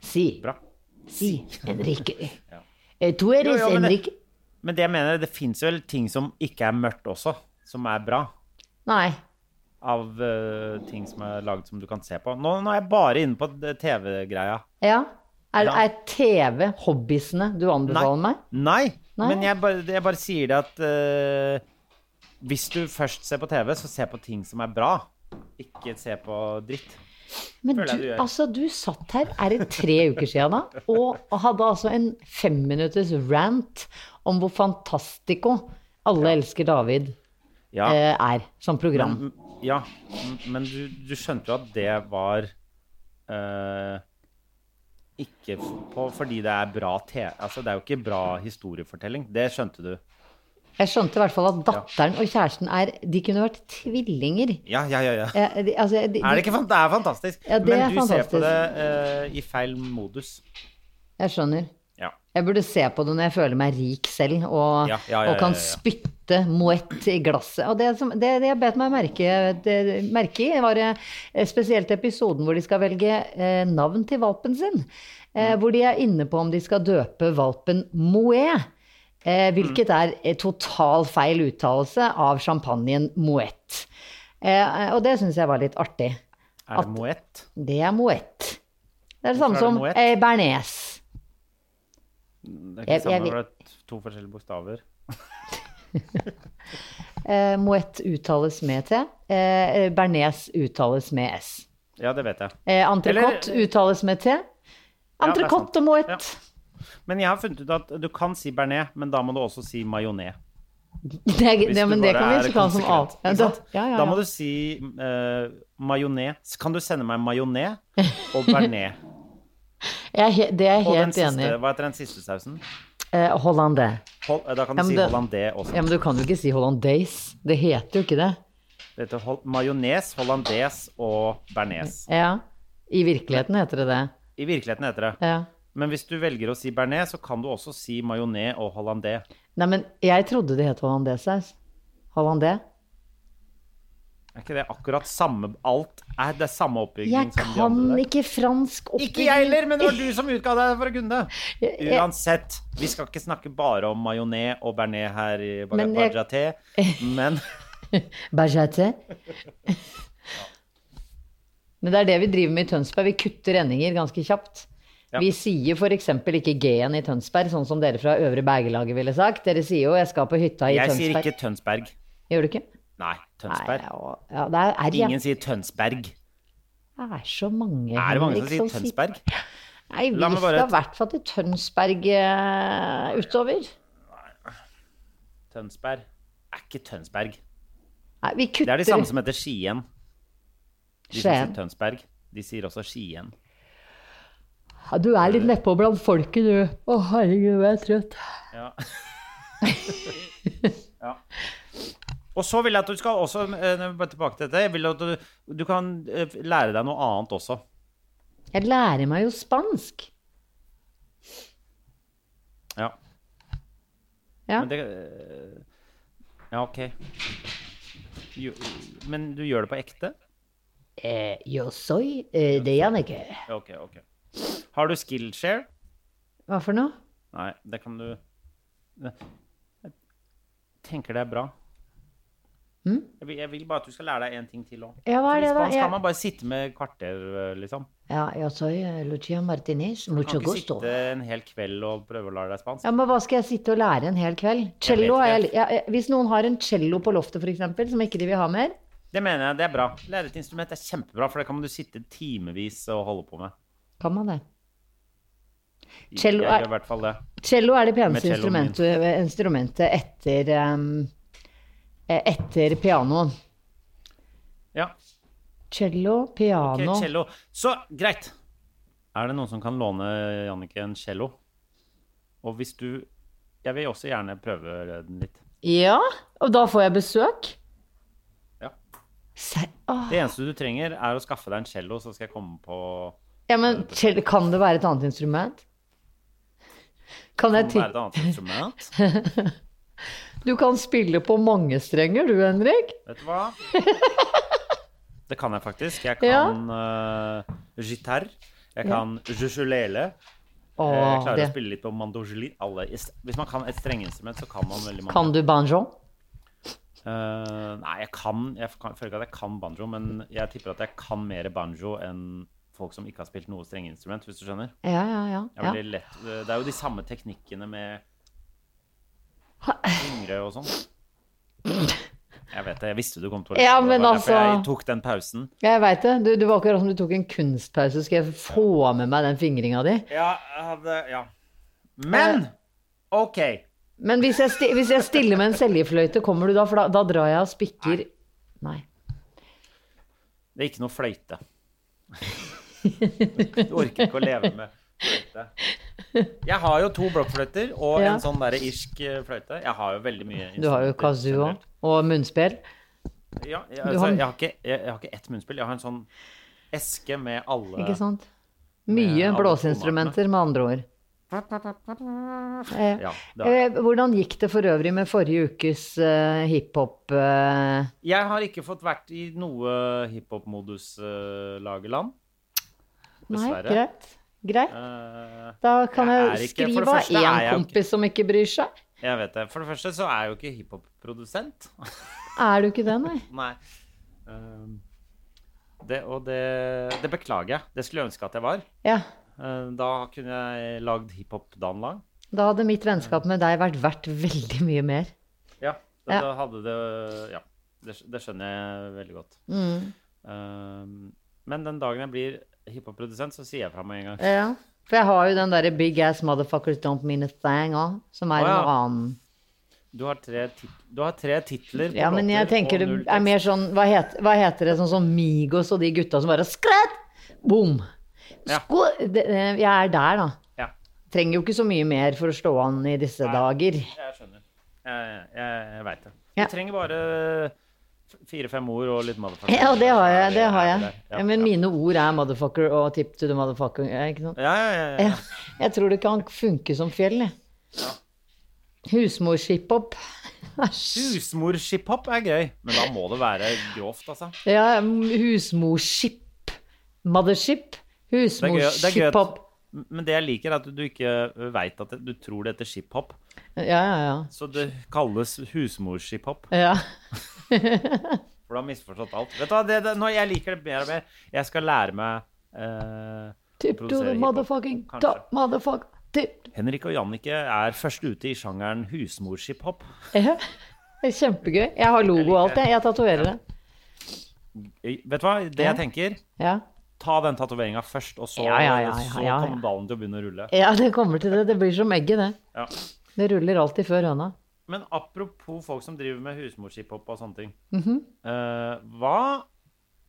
Speaker 2: Si.
Speaker 1: Bra.
Speaker 2: Si, Enrique. Eh, Tú eres
Speaker 1: Jo, jo, men det-
Speaker 2: Enrique
Speaker 1: Men det jeg mener, det fins vel ting som ikke er mørkt også, som er bra.
Speaker 2: Nei.
Speaker 1: Av eh, ting som er lagd som du kan se på. Nå, nå er jeg bare inne på det TV-greia.
Speaker 2: Ja. Er,
Speaker 1: Ja.
Speaker 2: er TV hobbysene du anbefaler meg?
Speaker 1: Nei,
Speaker 2: Nei.
Speaker 1: men jeg bare, jeg bare sier det at eh, hvis du først ser på TV, så se på ting som er bra. Ikke se på dritt.
Speaker 2: Men
Speaker 1: Føler jeg
Speaker 2: du,
Speaker 1: du gjør.
Speaker 2: altså, du satt her, er det tre uker siden da, og hadde altså en femminutters rant om hvor fantastico Alle elsker David
Speaker 1: Ja, Mm.
Speaker 2: eh, er som program.
Speaker 1: men, ja, m- men du, du skjønte jo at det var eh, ikke f- på, fordi det er bra TV. Altså, det er jo ikke bra historiefortelling. Det skjønte du.
Speaker 2: Jeg skjønte i hvert fall at datteren og kjæresten er De kunne vært tvillinger.
Speaker 1: Ja, ja, ja. ja.
Speaker 2: Eh, de, altså, de,
Speaker 1: Er det ikke fan- Det er fantastisk.
Speaker 2: Ja, det
Speaker 1: men
Speaker 2: er
Speaker 1: du ser
Speaker 2: fantastisk.
Speaker 1: på det eh, i feil modus.
Speaker 2: Jeg skjønner.
Speaker 1: Ja.
Speaker 2: Jeg burde se på det når jeg føler meg rik selv, og,
Speaker 1: Ja, ja, ja,
Speaker 2: og kan
Speaker 1: ja, ja.
Speaker 2: spytte moett i glasset. Og det, som, det, det jeg bet meg merke, det, merke i, var eh, spesielt episoden hvor de skal velge eh, navn til valpen sin. Eh,
Speaker 1: Mm.
Speaker 2: hvor de er inne på om de skal døpe valpen Moët. Eh, hvilket
Speaker 1: Mm.
Speaker 2: er eh, total feil uttalelse av champagnen Moët. Eh, og det syns jeg var litt artig.
Speaker 1: Er det Moet?
Speaker 2: Det er Moët. Det er det
Speaker 1: Hvorfor
Speaker 2: samme
Speaker 1: er det
Speaker 2: som
Speaker 1: Moët?
Speaker 2: eh, bearnés.
Speaker 1: Det er ikke
Speaker 2: Jeg- jeg
Speaker 1: samme,
Speaker 2: vet-
Speaker 1: det er to forskjellige bokstaver.
Speaker 2: Eh, Moët uttales med T. Eh, Bernes uttales med S.
Speaker 1: Ja, det vet jeg.
Speaker 2: Eh, Entrecôte
Speaker 1: Eller-
Speaker 2: uttales med T. Entrecôte
Speaker 1: sant.
Speaker 2: og Moët.
Speaker 1: Ja. Men jeg har funnet ut at du kan si bearnés, men da må du også si majones.
Speaker 2: Det, er-
Speaker 1: Hvis
Speaker 2: det,
Speaker 1: du
Speaker 2: men det
Speaker 1: bare
Speaker 2: kan vi
Speaker 1: er
Speaker 2: ikke kalle som
Speaker 1: konsekvent,
Speaker 2: alt.
Speaker 1: ikke
Speaker 2: da,
Speaker 1: sant?
Speaker 2: ja, ja,
Speaker 1: Da
Speaker 2: ja.
Speaker 1: må du si uh, majones. Kan du sende meg majones og bearnés?
Speaker 2: Jeg er he- det er jeg
Speaker 1: Og den
Speaker 2: helt enig
Speaker 1: siste,
Speaker 2: i.
Speaker 1: hva heter den siste sausen?
Speaker 2: Eh, Hollandais.
Speaker 1: Hol, eh, da kan du
Speaker 2: Ja, men
Speaker 1: si
Speaker 2: det-
Speaker 1: hollandais også.
Speaker 2: Ja, men du kan jo ikke si hollandaise. Det heter jo ikke det.
Speaker 1: Det heter hol, majones, hollandes og bearnés.
Speaker 2: Ja. I virkeligheten heter det det.
Speaker 1: I virkeligheten heter det.
Speaker 2: Ja.
Speaker 1: Men hvis du velger å si bearnés, så kan du også si majones og hollandais.
Speaker 2: Nei, men jeg trodde det het hollandaisaus. Hollandais.
Speaker 1: Er ikke det akkurat samme Alt er det er samme oppbygging
Speaker 2: Jeg
Speaker 1: som de
Speaker 2: kan
Speaker 1: andre der?
Speaker 2: ikke fransk oppbygging.
Speaker 1: Ikke jeg heller, men det var du som utga deg for å kunne det.
Speaker 2: Jeg- jeg-
Speaker 1: Uansett, vi skal ikke snakke bare om majones og bearnés her i
Speaker 2: Men jeg-
Speaker 1: Bajaté, men
Speaker 2: Bajate. Men det er det vi driver med i Tønsberg. Vi kutter endinger ganske kjapt.
Speaker 1: Ja.
Speaker 2: Vi sier f.eks. ikke G-en i Tønsberg, sånn som dere fra Øvre Bergelaget ville sagt. Dere sier jo 'jeg skal på hytta i
Speaker 1: jeg sier
Speaker 2: Tønsberg'.
Speaker 1: ikke Tønsberg.
Speaker 2: Gjør du ikke?
Speaker 1: Nei, Tønsberg.
Speaker 2: Nei, å, ja, det er R, ja.
Speaker 1: Ingen sier Tønsberg.
Speaker 2: Det er så mange,
Speaker 1: Er det mange som
Speaker 2: Henrik,
Speaker 1: sier Tønsberg?
Speaker 2: Nei, vi
Speaker 1: La meg bare-
Speaker 2: skal i hvert fall til Tønsberg eh, utover.
Speaker 1: Tønsberg er ikke Tønsberg.
Speaker 2: Nei, vi
Speaker 1: Det
Speaker 2: kutter
Speaker 1: er de samme som heter Skien. De som
Speaker 2: Skien.
Speaker 1: sier Tønsberg, de sier også Skien.
Speaker 2: Ja, Du er litt nedpå blant folket, du. Å, herregud, jeg er trøtt.
Speaker 1: Ja. ja. Og så vil jeg at du skal også eh, når vi bare tilbake til dette, jeg vil at du, du kan eh, lære deg noe annet også.
Speaker 2: Jeg lærer meg jo spansk.
Speaker 1: Ja.
Speaker 2: Ja.
Speaker 1: Men det eh, Ja, OK. Jo, men du gjør det på ekte?
Speaker 2: Eh, yo soy eh, de Jannicke.
Speaker 1: Ja, OK, OK. Har du Skillshare?
Speaker 2: Hva for noe?
Speaker 1: Nei, det kan du Jeg tenker det er bra. Jeg, vil, jeg vil bare at du skal lære deg en ting til òg.
Speaker 2: Ja, Hm? hva er det da?
Speaker 1: Spansk
Speaker 2: Jeg-
Speaker 1: kan man bare sitte med et kvarter, eh, liksom.
Speaker 2: Ja, yo soy eh, Lucia Martinez.
Speaker 1: Du kan
Speaker 2: Mucho
Speaker 1: ikke
Speaker 2: gusto.
Speaker 1: sitte en hel kveld og prøve å lære deg spansk.
Speaker 2: Ja, men hva skal jeg sitte og lære en hel kveld?
Speaker 1: vet
Speaker 2: Cello har jeg,
Speaker 1: ikke.
Speaker 2: ja, eh, hvis noen har en cello på loftet, for eksempel, som ikke de vil ha mer,
Speaker 1: Det mener jeg, det er bra. Lære et instrument er kjempebra, for det kan du sitte timevis og holde på med.
Speaker 2: kan man det. Cello
Speaker 1: jeg
Speaker 2: er-
Speaker 1: gjør i hvert fall det.
Speaker 2: Cello er det peneste
Speaker 1: Med celloen min.
Speaker 2: instrumentet, eh, instrumentet etter, em, eh, etter pianoen.
Speaker 1: Ja,
Speaker 2: Cello,
Speaker 1: ok,
Speaker 2: piano
Speaker 1: cello. Så, greit. Er det noen som kan låne Jannicke en cello? Og hvis du Jeg vil også gjerne prøve den litt.
Speaker 2: Ja, og da får jeg besøk.
Speaker 1: Ja.
Speaker 2: Se, åh.
Speaker 1: Det eneste du trenger, er å skaffe deg en cello, så skal jeg komme på
Speaker 2: Ja, men cello, kan det være et annet instrument? Kan
Speaker 1: Må
Speaker 2: jeg
Speaker 1: være
Speaker 2: tippe
Speaker 1: et annet instrument.
Speaker 2: Du kan spille på mange strenger, du, Henrik.
Speaker 1: Vet du hva? Det kan jeg faktisk. Jeg kan uh, gitar. Jeg kan jujulele. Eh,
Speaker 2: Å,
Speaker 1: Jeg klarer
Speaker 2: det.
Speaker 1: å spille litt på mandolin. Alle. Hvis man kan et strengeinstrument, så kan man veldig mange.
Speaker 2: Kan du banjo?
Speaker 1: Eh, nei, jeg kan Jeg kan- føler ikke at jeg kan banjo, men jeg tipper at jeg kan mer banjo enn folk som ikke har spilt noe strengeinstrument, hvis du skjønner.
Speaker 2: Ja, ja, ja.
Speaker 1: Det er,
Speaker 2: ja.
Speaker 1: veldig lett. eh, det er jo de samme teknikkene med fingre og sånn. Jeg vet det. Jeg visste du kom til å
Speaker 2: Ja,
Speaker 1: det
Speaker 2: men
Speaker 1: var derfor
Speaker 2: altså-
Speaker 1: Jeg tok den pausen.
Speaker 2: Jeg veit det. Du, det var akkurat som du tok en kunstpause. Skal jeg få med meg den fingringa di?
Speaker 1: Ja, jeg hadde Ja.
Speaker 2: Eh.
Speaker 1: Men OK.
Speaker 2: Men hvis jeg, sti, hvis jeg stiller med en seljefløyte, kommer du da? For da, da drar jeg og spikker Nei.
Speaker 1: Det er ikke noe fløyte. Du orker ikke å leve med fløyte. Jeg har jo to blokkfløyter og
Speaker 2: Ja.
Speaker 1: en sånn derre irsk eh, fløyte. Jeg har jo veldig mye
Speaker 2: Du har jo
Speaker 1: instrumenter
Speaker 2: kazoo
Speaker 1: generelt.
Speaker 2: og munnspill.
Speaker 1: Ja, jeg,
Speaker 2: Du har-
Speaker 1: altså, jeg, har ikke, jeg, jeg har ikke ett munnspill. Jeg har en sånn eske med alle
Speaker 2: Ikke sant?
Speaker 1: med
Speaker 2: Mye
Speaker 1: alle
Speaker 2: blåseinstrumenter, med andre ord. Eh,
Speaker 1: Ja, det er.
Speaker 2: eh, hvordan gikk det for øvrig med forrige ukes eh, hiphop eh,
Speaker 1: Jeg har ikke fått vært i noe eh, hiphop-modus-lageland.
Speaker 2: Nei,
Speaker 1: Dessverre.
Speaker 2: greit. Greit.
Speaker 1: Eh,
Speaker 2: Da kan
Speaker 1: jeg er
Speaker 2: jeg
Speaker 1: ikke- for det
Speaker 2: skrive av
Speaker 1: første er
Speaker 2: én
Speaker 1: jeg jo ikke-
Speaker 2: kompis som ikke bryr seg.
Speaker 1: jeg vet det. For det første så er jeg jo ikke hiphop-produsent.
Speaker 2: Er du ikke det, nei?
Speaker 1: Nei. Ehm, Det, og det, det beklager jeg. Det skulle jeg ønske at jeg var.
Speaker 2: Ja.
Speaker 1: Eh, Da kunne jeg lagd hiphop dagen lang.
Speaker 2: Da hadde mitt vennskap med deg vært verdt veldig mye mer.
Speaker 1: Ja, det,
Speaker 2: Ja.
Speaker 1: Da hadde det, ja det, skj- det skjønner jeg veldig godt.
Speaker 2: Mm.
Speaker 1: Ehm, men den dagen jeg blir hiphop-produsent, så sier jeg fra meg en gang.
Speaker 2: Ja. For jeg har jo den derre Big Ass Motherfuckers Don't Mean a Thing òg, som er
Speaker 1: Å, ja.
Speaker 2: en annen
Speaker 1: Du har tre, tit du har tre titler på
Speaker 2: Ja, men jeg
Speaker 1: låter
Speaker 2: tenker
Speaker 1: og
Speaker 2: det
Speaker 1: null
Speaker 2: er
Speaker 1: tekst.
Speaker 2: mer sånn Hva, het, hva heter det? Sånn som Migos og de gutta som bare Skrett! Boom!
Speaker 1: Ja.
Speaker 2: Sko- det- eh, Jeg er der, da.
Speaker 1: Ja,
Speaker 2: Trenger jo ikke så mye mer for å slå an i disse dager.
Speaker 1: jeg skjønner. Jeg, jeg, jeg veit det.
Speaker 2: Ja.
Speaker 1: Du trenger bare f- fire-fem ord og litt motherfucker.
Speaker 2: Ja, det har jeg.
Speaker 1: Er vi-
Speaker 2: det har
Speaker 1: er vi
Speaker 2: jeg.
Speaker 1: der? Ja,
Speaker 2: Men
Speaker 1: ja.
Speaker 2: mine ord er motherfucker og tip to the motherfucker. eh, Ikke sant?
Speaker 1: ja, ja, ja, ja.
Speaker 2: Ja, jeg tror det kan funke som fjell, jeg. Husmorship-hop. Æsj.
Speaker 1: Husmorship-hop er gøy, men da må det være grovt, altså.
Speaker 2: Ja, husmorship. Mothership.
Speaker 1: Det er gøy, det er gøy at,
Speaker 2: Husmorship-hop.
Speaker 1: men det jeg liker, er at du ikke veit at det, du tror det heter shiphop.
Speaker 2: Ja, ja,
Speaker 1: Så det kalles husmorship-hop.
Speaker 2: ja. ja.
Speaker 1: For du har misforstått alt. Vet du hva, det, det, nå, jeg liker det mer og mer. Jeg skal lære meg eh,
Speaker 2: Tip to
Speaker 1: produsere
Speaker 2: the
Speaker 1: hiphop,
Speaker 2: motherfucking
Speaker 1: kanskje.
Speaker 2: top motherfucker. Tip.
Speaker 1: Henrik og Jannicke er først ute i sjangeren husmorship-hop.
Speaker 2: Ja. Det er kjempegøy. Jeg har logo og alt, jeg. Jeg tatoverer det.
Speaker 1: Eh, Vet du hva, det jeg tenker
Speaker 2: Ja.
Speaker 1: Ta den tatoveringa først, og så,
Speaker 2: Ja, ja, ja, ja,
Speaker 1: så
Speaker 2: ja, ja.
Speaker 1: kommer ballen til å begynne å rulle.
Speaker 2: ja, det kommer til det. Det blir som egget, det.
Speaker 1: Ja.
Speaker 2: Det ruller alltid før høna.
Speaker 1: Men apropos folk som driver med husmorship-hop og sånne ting.
Speaker 2: Mhm.
Speaker 1: eh, hva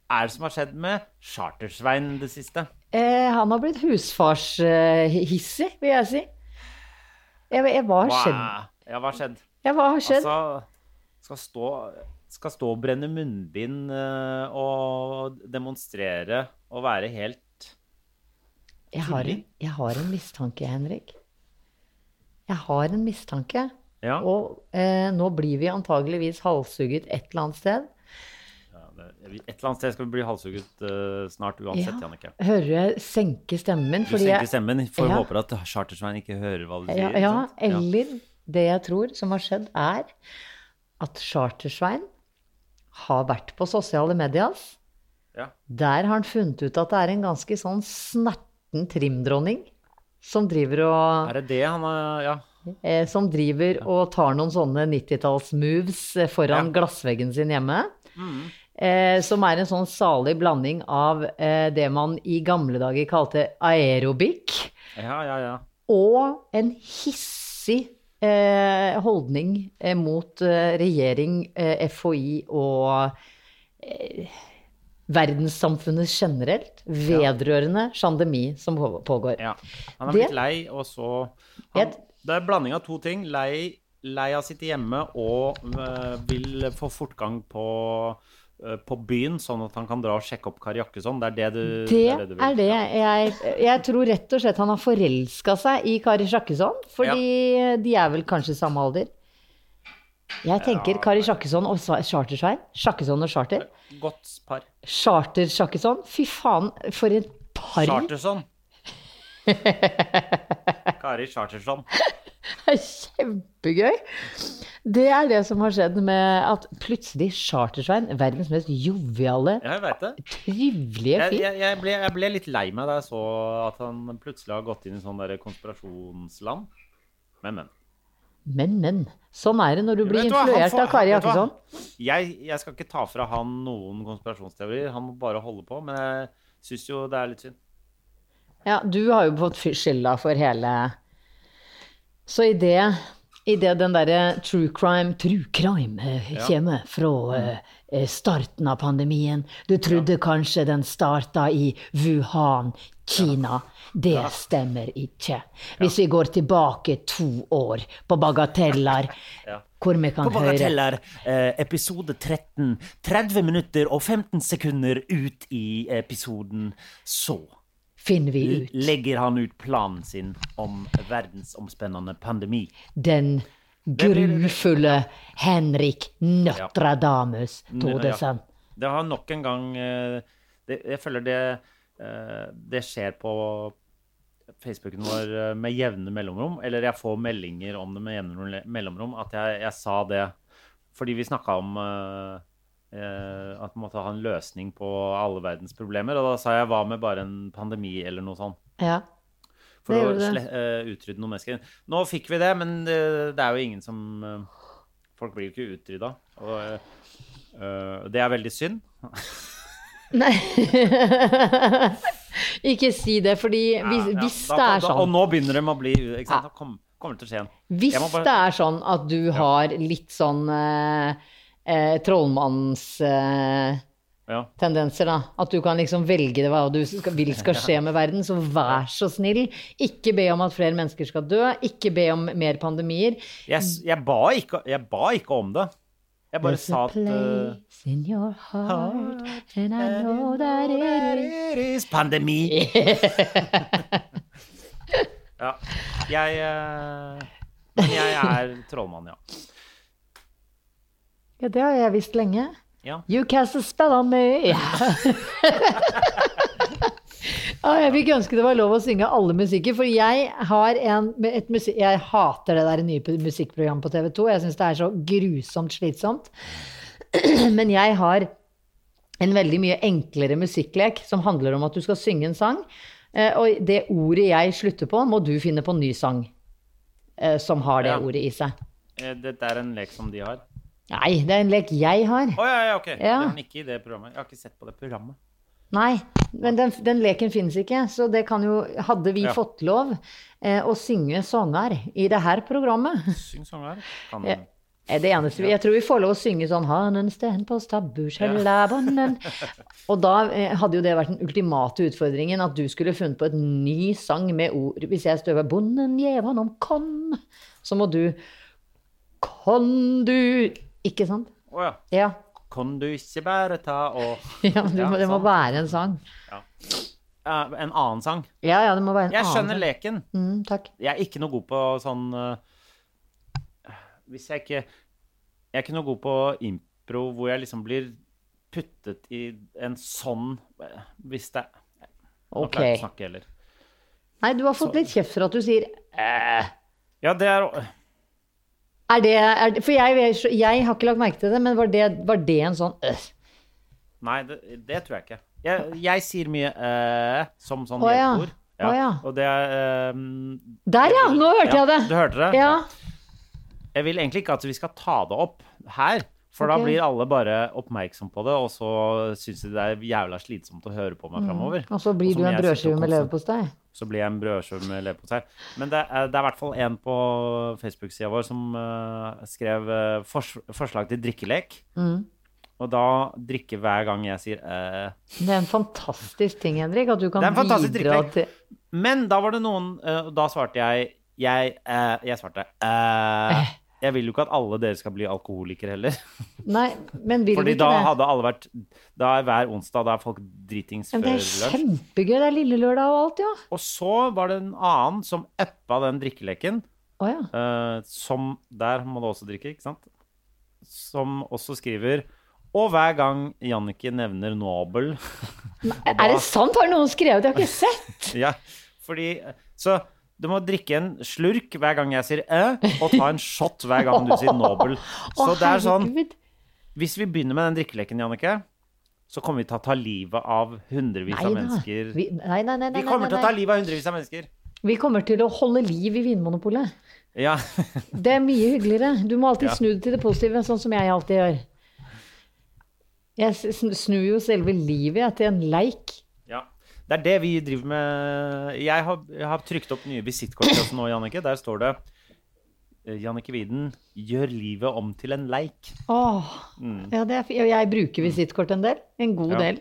Speaker 1: er det som har skjedd med Chartersvein det siste?
Speaker 2: Eh, han har blitt husfarshissig, vil jeg si. Jeg, jeg, hva har skjedd?
Speaker 1: Hva er- Ja, hva har skjedd?
Speaker 2: Ja, hva har skjedd?
Speaker 1: Altså, skal stå, skal stå og brenne munnbind eh, og demonstrere og være helt
Speaker 2: jeg, har en, jeg har en mistanke, Henrik. Jeg har en mistanke.
Speaker 1: Ja.
Speaker 2: Og eh, nå blir vi antageligvis halshugget et eller annet sted.
Speaker 1: Et eller annet sted skal vi bli halshugget eh, snart uansett,
Speaker 2: Ja.
Speaker 1: Jannicke.
Speaker 2: Hører jeg senke stemmen.
Speaker 1: Du
Speaker 2: fordi
Speaker 1: senker
Speaker 2: jeg-
Speaker 1: stemmen, for
Speaker 2: Ja.
Speaker 1: håper at Chartersvein ikke hører hva du sier.
Speaker 2: Ja,
Speaker 1: ikke
Speaker 2: ja,
Speaker 1: sant? Ja.
Speaker 2: eller det jeg tror som har skjedd, er at Chartersvein har vært på sosiale medias.
Speaker 1: Ja.
Speaker 2: Der har han funnet ut at det er en ganske sånn snerten trimdronning som driver og,
Speaker 1: Er det det han har Ja.
Speaker 2: eh, som driver og tar noen sånne 90-tallsmoves eh, foran glassveggen sin hjemme.
Speaker 1: Mm.
Speaker 2: Eh, som er en sånn salig blanding av eh, det man i gamle dager kalte aerobic
Speaker 1: ja, ja, ja.
Speaker 2: og en hissig eh, holdning eh, mot eh, regjering, eh, FHI og eh, verdenssamfunnet generelt vedrørende pandemi som hå- pågår.
Speaker 1: Ja. Han er
Speaker 2: Det-
Speaker 1: blitt lei, og så han,
Speaker 2: Jeg-
Speaker 1: Det er en blanding av to ting. Lei, lei av å sitte hjemme og øh, vil få fortgang på øh, på byen, sånn at han kan dra og sjekke opp Kari Jakkesson. Det er det du
Speaker 2: Det
Speaker 1: du vil.
Speaker 2: er det jeg Jeg tror rett og slett han har forelska seg i Kari Sjakkesson, fordi de er vel kanskje samme alder. Jeg tenker Kari Sjakkesson og Sa- Chartersvein. Sjakkesson og Charter.
Speaker 1: Ja. Godt par.
Speaker 2: Charter-Sjakkesson. Fy faen, for et par!
Speaker 1: Charterson. Kari Charterson.
Speaker 2: Det er kjempegøy. Det er det som har skjedd med at plutselig Chartersvein, verdens mest joviale,
Speaker 1: Ja, jeg veit det.
Speaker 2: trivelige
Speaker 1: Jeg,
Speaker 2: fyr
Speaker 1: jeg, jeg, ble, jeg ble litt lei meg da jeg så at han plutselig har gått inn i sånn der konspirasjonsland. Men, men.
Speaker 2: Men, men. Sånn er det når du blir
Speaker 1: Vet du hva, han
Speaker 2: influert
Speaker 1: får-
Speaker 2: av Kari
Speaker 1: vet du hva?
Speaker 2: Jakkesson.
Speaker 1: Jeg, jeg skal ikke ta fra han noen konspirasjonsteorier. Han må bare holde på. Men jeg syns jo det er litt synd.
Speaker 2: Ja, du har jo fått fy- skylda for hele Så i det, i det den derre true crime, true crime eh, kommer fra eh, eh, starten av pandemien Du trodde kanskje den starta i Wuhan, Kina. Det stemmer ikke. Hvis vi går tilbake to år på bagateller, hvor vi kan høre
Speaker 1: eh, episode 13, 30 minutter og 15 sekunder ut i episoden, så
Speaker 2: finner vi ut.
Speaker 1: legger han ut planen sin om verdensomspennende pandemi.
Speaker 2: Den grufulle Henrik Nøttradamus Tordesen.
Speaker 1: Det har nok en gang eh, det, Jeg føler det eh, Det skjer på Facebooken vår eh, med jevne mellomrom. Eller jeg får meldinger om det med jevne mellomrom, at jeg, jeg sa det fordi vi snakka om eh, eh, at man måtte ha en løsning på alle verdens problemer. Og da sa jeg hva med bare en pandemi eller noe sånt?
Speaker 2: Ja.
Speaker 1: For
Speaker 2: Det
Speaker 1: å
Speaker 2: gjorde
Speaker 1: sle
Speaker 2: det.
Speaker 1: eh, utrydde noen mennesker. Nå fikk vi det, men det, det er jo ingen som eh, Folk blir jo ikke utrydda. Og eh, eh, det er veldig synd.
Speaker 2: Nei Ikke si det, fordi hvis,
Speaker 1: Ja,
Speaker 2: hvis
Speaker 1: da-
Speaker 2: det er
Speaker 1: da- Og
Speaker 2: sånn
Speaker 1: nå begynner de å bli ikke sant? Da kom, kommer det til å skje en
Speaker 2: Hvis
Speaker 1: Jeg må bare-
Speaker 2: det er sånn at du har litt sånn eh, eh, trollmannstendenser,
Speaker 1: ja.
Speaker 2: da. At du kan liksom velge det hva du skal, vil skal skje med verden. Så vær så snill, ikke be om at flere mennesker skal dø. Ikke be om mer pandemier.
Speaker 1: jeg, s- jeg, ba ikke, jeg ba ikke om det. Jeg bare
Speaker 2: There's
Speaker 1: sa
Speaker 2: a
Speaker 1: at eh,
Speaker 2: place in your heart, and I know that it
Speaker 1: It
Speaker 2: is
Speaker 1: is pandemi. ja. Jeg eh, Men jeg er trollmann, ja.
Speaker 2: Ja, det har jeg visst lenge.
Speaker 1: Ja.
Speaker 2: You cast a spell on me. Ja. Å, Ah, jeg fikk ønske det var lov å synge alle musikker, for jeg har en med et musi- Jeg hater det der nye pu- musikkprogrammet på TV 2. Jeg syns det er så grusomt slitsomt. Men jeg har en veldig mye enklere musikklek som handler om at du skal synge en sang, eh, og det ordet jeg slutter på, må du finne på en ny sang eh, som har det
Speaker 1: Ja.
Speaker 2: ordet i seg.
Speaker 1: Eh, Dette er en lek som de har.
Speaker 2: Nei, det er en lek jeg har.
Speaker 1: Å ja, ja, ok. Det
Speaker 2: Ja.
Speaker 1: er den ikke i det programmet. Jeg har ikke sett på det programmet.
Speaker 2: Nei, men den, den leken finnes ikke, så det kan jo Hadde vi
Speaker 1: Ja.
Speaker 2: fått lov eh, å synge sanger i det her programmet?
Speaker 1: Syng sanger. Kan
Speaker 2: Ja. Er det eneste vi, jeg tror vi får lov å synge sånn Hanen sten på stabburshellabonnen. Og da eh, hadde jo det vært den ultimate utfordringen, at du skulle funnet på et ny sang med ord. Hvis jeg støver 'Bonden gjevan om konn', så må du 'Konn du' Ikke sant?
Speaker 1: Å ja.
Speaker 2: Ja.
Speaker 1: Kan du ikke bare ta og
Speaker 2: ja du må, det må
Speaker 1: sant.
Speaker 2: være en sang.
Speaker 1: Eh, En annen sang.
Speaker 2: Ja, ja, det må være en
Speaker 1: Jeg
Speaker 2: annen.
Speaker 1: skjønner leken.
Speaker 2: Mm, takk.
Speaker 1: Jeg er ikke noe god på sånn eh, Hvis jeg ikke Jeg er ikke noe god på impro hvor jeg liksom blir puttet i en sånn eh, Hvis det Nå klarer jeg
Speaker 2: Ok.
Speaker 1: ikke å snakke heller.
Speaker 2: Nei, du har fått litt kjeft for at du sier
Speaker 1: Ja, det er
Speaker 2: er det, er det, For jeg, jeg har ikke lagt merke til det, men var det, var det en sånn øh?
Speaker 1: Nei, det, det tror jeg ikke. Jeg, jeg sier mye eh, som sånn
Speaker 2: Å ja.
Speaker 1: hjelpeord.
Speaker 2: Å ja.
Speaker 1: Og det er eh,
Speaker 2: Der, ja! Nå hørte
Speaker 1: Ja,
Speaker 2: jeg det!
Speaker 1: Du hørte det?
Speaker 2: Ja.
Speaker 1: Jeg vil egentlig ikke at vi skal ta det opp her, for
Speaker 2: Ok.
Speaker 1: da blir alle bare oppmerksom på det, og så syns de det er jævla slitsomt å høre på meg framover.
Speaker 2: Mm. Og så blir du en brødskive med
Speaker 1: leverpostei.
Speaker 2: leverpostei.
Speaker 1: Så blir jeg en brødskive med leverpostei. Men det er, det er i hvert fall en på Facebook-sida vår som eh, skrev eh, fors forslag til drikkelek.
Speaker 2: Mm.
Speaker 1: Og da drikke hver gang jeg sier eh.
Speaker 2: Det er en fantastisk ting, Henrik, at du kan
Speaker 1: Det er en fantastisk
Speaker 2: bidra
Speaker 1: drikkvekt.
Speaker 2: til
Speaker 1: Men da var det noen eh, Og da svarte jeg Jeg, eh, jeg svarte eh. Jeg vil jo ikke at alle dere skal bli alkoholikere heller.
Speaker 2: Nei, men vil du
Speaker 1: Fordi
Speaker 2: ikke
Speaker 1: da
Speaker 2: det?
Speaker 1: hadde alle vært Da er hver onsdag da er folk dritings før
Speaker 2: Men det er
Speaker 1: lunsj.
Speaker 2: kjempegøy. Det er lille lørdag og alt, ja.
Speaker 1: Og så var det en annen som uppa den drikkeleken.
Speaker 2: Å ja.
Speaker 1: eh, som Der må du også drikke, ikke sant? Som også skriver Og hver gang Jannicke nevner Nobel
Speaker 2: Er det sant? Har noen skrevet? Jeg har ikke sett!
Speaker 1: ja, Fordi Så du må drikke en slurk hver gang jeg sier æ, og ta en shot hver gang du sier Nobel. Så det er sånn
Speaker 2: herregud.
Speaker 1: Hvis vi begynner med den drikkeleken, Jannicke, så kommer vi til å ta livet av hundrevis
Speaker 2: Nei
Speaker 1: av
Speaker 2: da.
Speaker 1: mennesker.
Speaker 2: Vi, nei, nei, nei, nei,
Speaker 1: Vi kommer
Speaker 2: nei,
Speaker 1: til å ta
Speaker 2: nei.
Speaker 1: livet av hundrevis av mennesker.
Speaker 2: Vi kommer til å holde liv i Vinmonopolet.
Speaker 1: Ja.
Speaker 2: Det er mye hyggeligere. Du må alltid snu det til det positive, sånn som jeg alltid gjør. Jeg s- sn- snur jo selve livet jeg, til en leik.
Speaker 1: ja. Det er det vi driver med. Jeg har, jeg har trykt opp nye visittkort til oss nå, Jannicke. Der står det eh, Jannicke Widen gjør livet om til en leik.
Speaker 2: Åh, ja, det er, fi- og jeg bruker visittkort en del. En god
Speaker 1: Mm. Ja.
Speaker 2: del.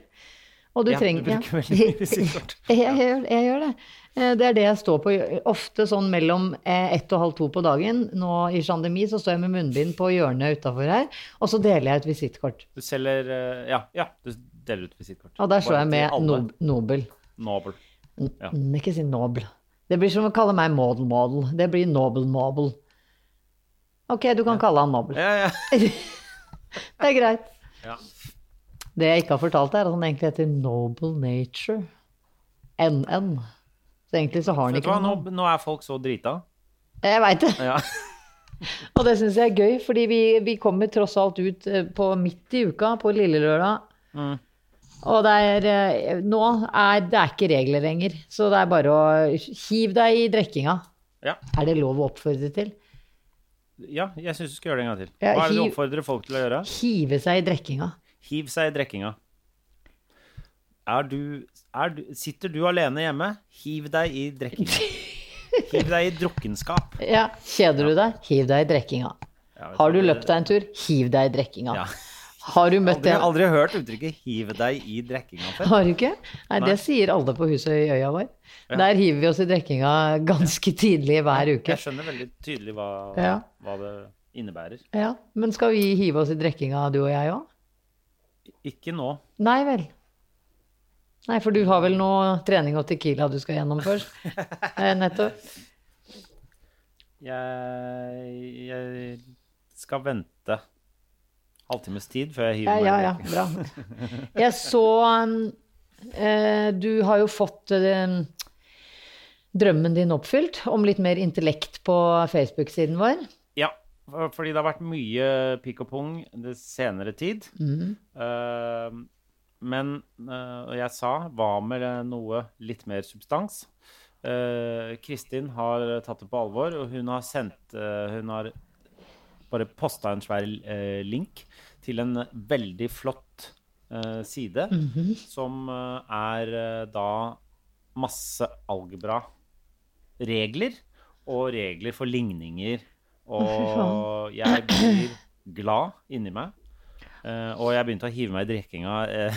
Speaker 2: Og du
Speaker 1: Ja, du
Speaker 2: trenger
Speaker 1: bruker veldig mye visittkort.
Speaker 2: Jeg, jeg, gjør- jeg gjør det. Eh, Det er det jeg står på gjø- ofte sånn mellom eh, ett og halv to på dagen. Nå i pandemi så står jeg med munnbind på hjørnet utafor her, og så deler jeg ut visittkort.
Speaker 1: Du selger eh, Ja, ja du deler ut visittkort.
Speaker 2: Og der
Speaker 1: Bare
Speaker 2: står jeg
Speaker 1: til
Speaker 2: med
Speaker 1: alle.
Speaker 2: Nob- Nobel.
Speaker 1: Nobel. Ja.
Speaker 2: Mm, Ikke si nobel. Det blir som å kalle meg model model. Det blir nobel nobel. Ok, du kan kalle han nobel.
Speaker 1: Ja, ja.
Speaker 2: Det er greit.
Speaker 1: Ja.
Speaker 2: Det jeg ikke har fortalt, er at han egentlig heter Noble Nature. NN. Så egentlig så har han
Speaker 1: Vet du
Speaker 2: ikke
Speaker 1: hva, nå,
Speaker 2: noe navn.
Speaker 1: nå er folk så drita.
Speaker 2: Jeg veit det.
Speaker 1: Ja.
Speaker 2: Og det syns jeg er gøy, fordi vi, vi kommer tross alt ut eh, på midt i uka, på lille lørdag.
Speaker 1: Mm.
Speaker 2: Og det er eh, Nå er det er ikke regler lenger, så det er bare å Hiv deg i drikkinga.
Speaker 1: Ja,
Speaker 2: Er det lov å oppfordre til?
Speaker 1: ja jeg syns du skal gjøre det en gang til.
Speaker 2: Ja,
Speaker 1: Hva er det du
Speaker 2: hiv-
Speaker 1: oppfordrer folk til å gjøre?
Speaker 2: Hive seg i drikkinga.
Speaker 1: Hiv seg i drikkinga. Er du, er du Sitter du alene hjemme, hiv deg i drikkinga. Hiv deg i drukkenskap.
Speaker 2: Ja, kjeder du deg? Hiv deg i drikkinga.
Speaker 1: Ja, vet
Speaker 2: Har du
Speaker 1: hva, det-
Speaker 2: løpt deg en tur? Hiv deg i drikkinga.
Speaker 1: Ja.
Speaker 2: Har du møtt
Speaker 1: Aldri,
Speaker 2: en
Speaker 1: aldri hørt uttrykket 'hive deg i drikkinga' før.
Speaker 2: Har du ikke? Nei, det sier alle på huset i øya vår. Der hiver vi oss i drikkinga ganske tidlig hver uke.
Speaker 1: Jeg skjønner veldig tydelig hva,
Speaker 2: Ja.
Speaker 1: hva det innebærer.
Speaker 2: Ja, Men skal vi hive oss i drikkinga, du og jeg òg?
Speaker 1: Ikke nå.
Speaker 2: Nei vel. Nei, for du har vel noe trening og tequila du skal gjennom først? eh, Nettopp.
Speaker 1: Jeg, jeg skal vente halvtimes tid før jeg hiver
Speaker 2: Ja,
Speaker 1: meg i
Speaker 2: ja, ja.
Speaker 1: drikkinga.
Speaker 2: Bra. Jeg så um, eh, Du har jo fått eh, drømmen din oppfylt om litt mer intellekt på Facebook-siden vår.
Speaker 1: Ja, for- fordi det har vært mye pikk og pung det senere tid. Eh, men eh, og jeg sa hva med eh, noe litt mer substans? Eh, Kristin har tatt det på alvor, og hun har sendt eh, Hun har bare posta en svær eh, link til en veldig flott eh, side som eh, er eh, da masse algebra-regler og regler for ligninger. Og jeg blir glad inni meg. Eh, og jeg begynte å hive meg i drikkinga eh,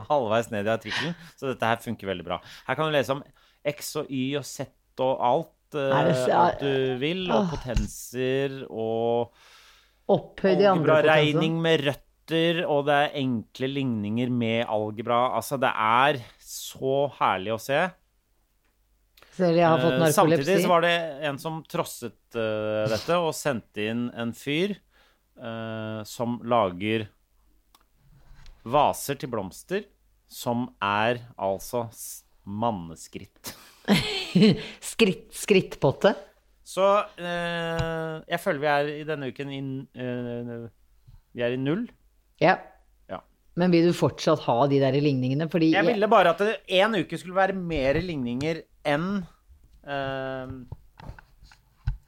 Speaker 1: halvveis ned i artikkelen, så dette her funker veldig bra. Her kan du lese om X og Y og Z og alt, eh,
Speaker 2: Er det så-
Speaker 1: alt du vil, og potenser og
Speaker 2: Opphøyd i andre altså.
Speaker 1: Algebra-regning med røtter, og det er enkle ligninger med algebra. Altså, det er så herlig å se.
Speaker 2: Ser jeg har fått
Speaker 1: Eh,
Speaker 2: narkolepsi.
Speaker 1: Samtidig så var det en som trosset eh, dette og sendte inn en fyr eh, som lager vaser til blomster, som er altså s- manneskritt.
Speaker 2: Skritt, skrittpotte.
Speaker 1: Så eh, jeg føler vi er i denne uken inn eh, Vi er i null.
Speaker 2: Ja.
Speaker 1: Ja.
Speaker 2: Men vil du fortsatt ha de der ligningene? Fordi
Speaker 1: Jeg ville bare at det en uke skulle være mer ligninger enn eh,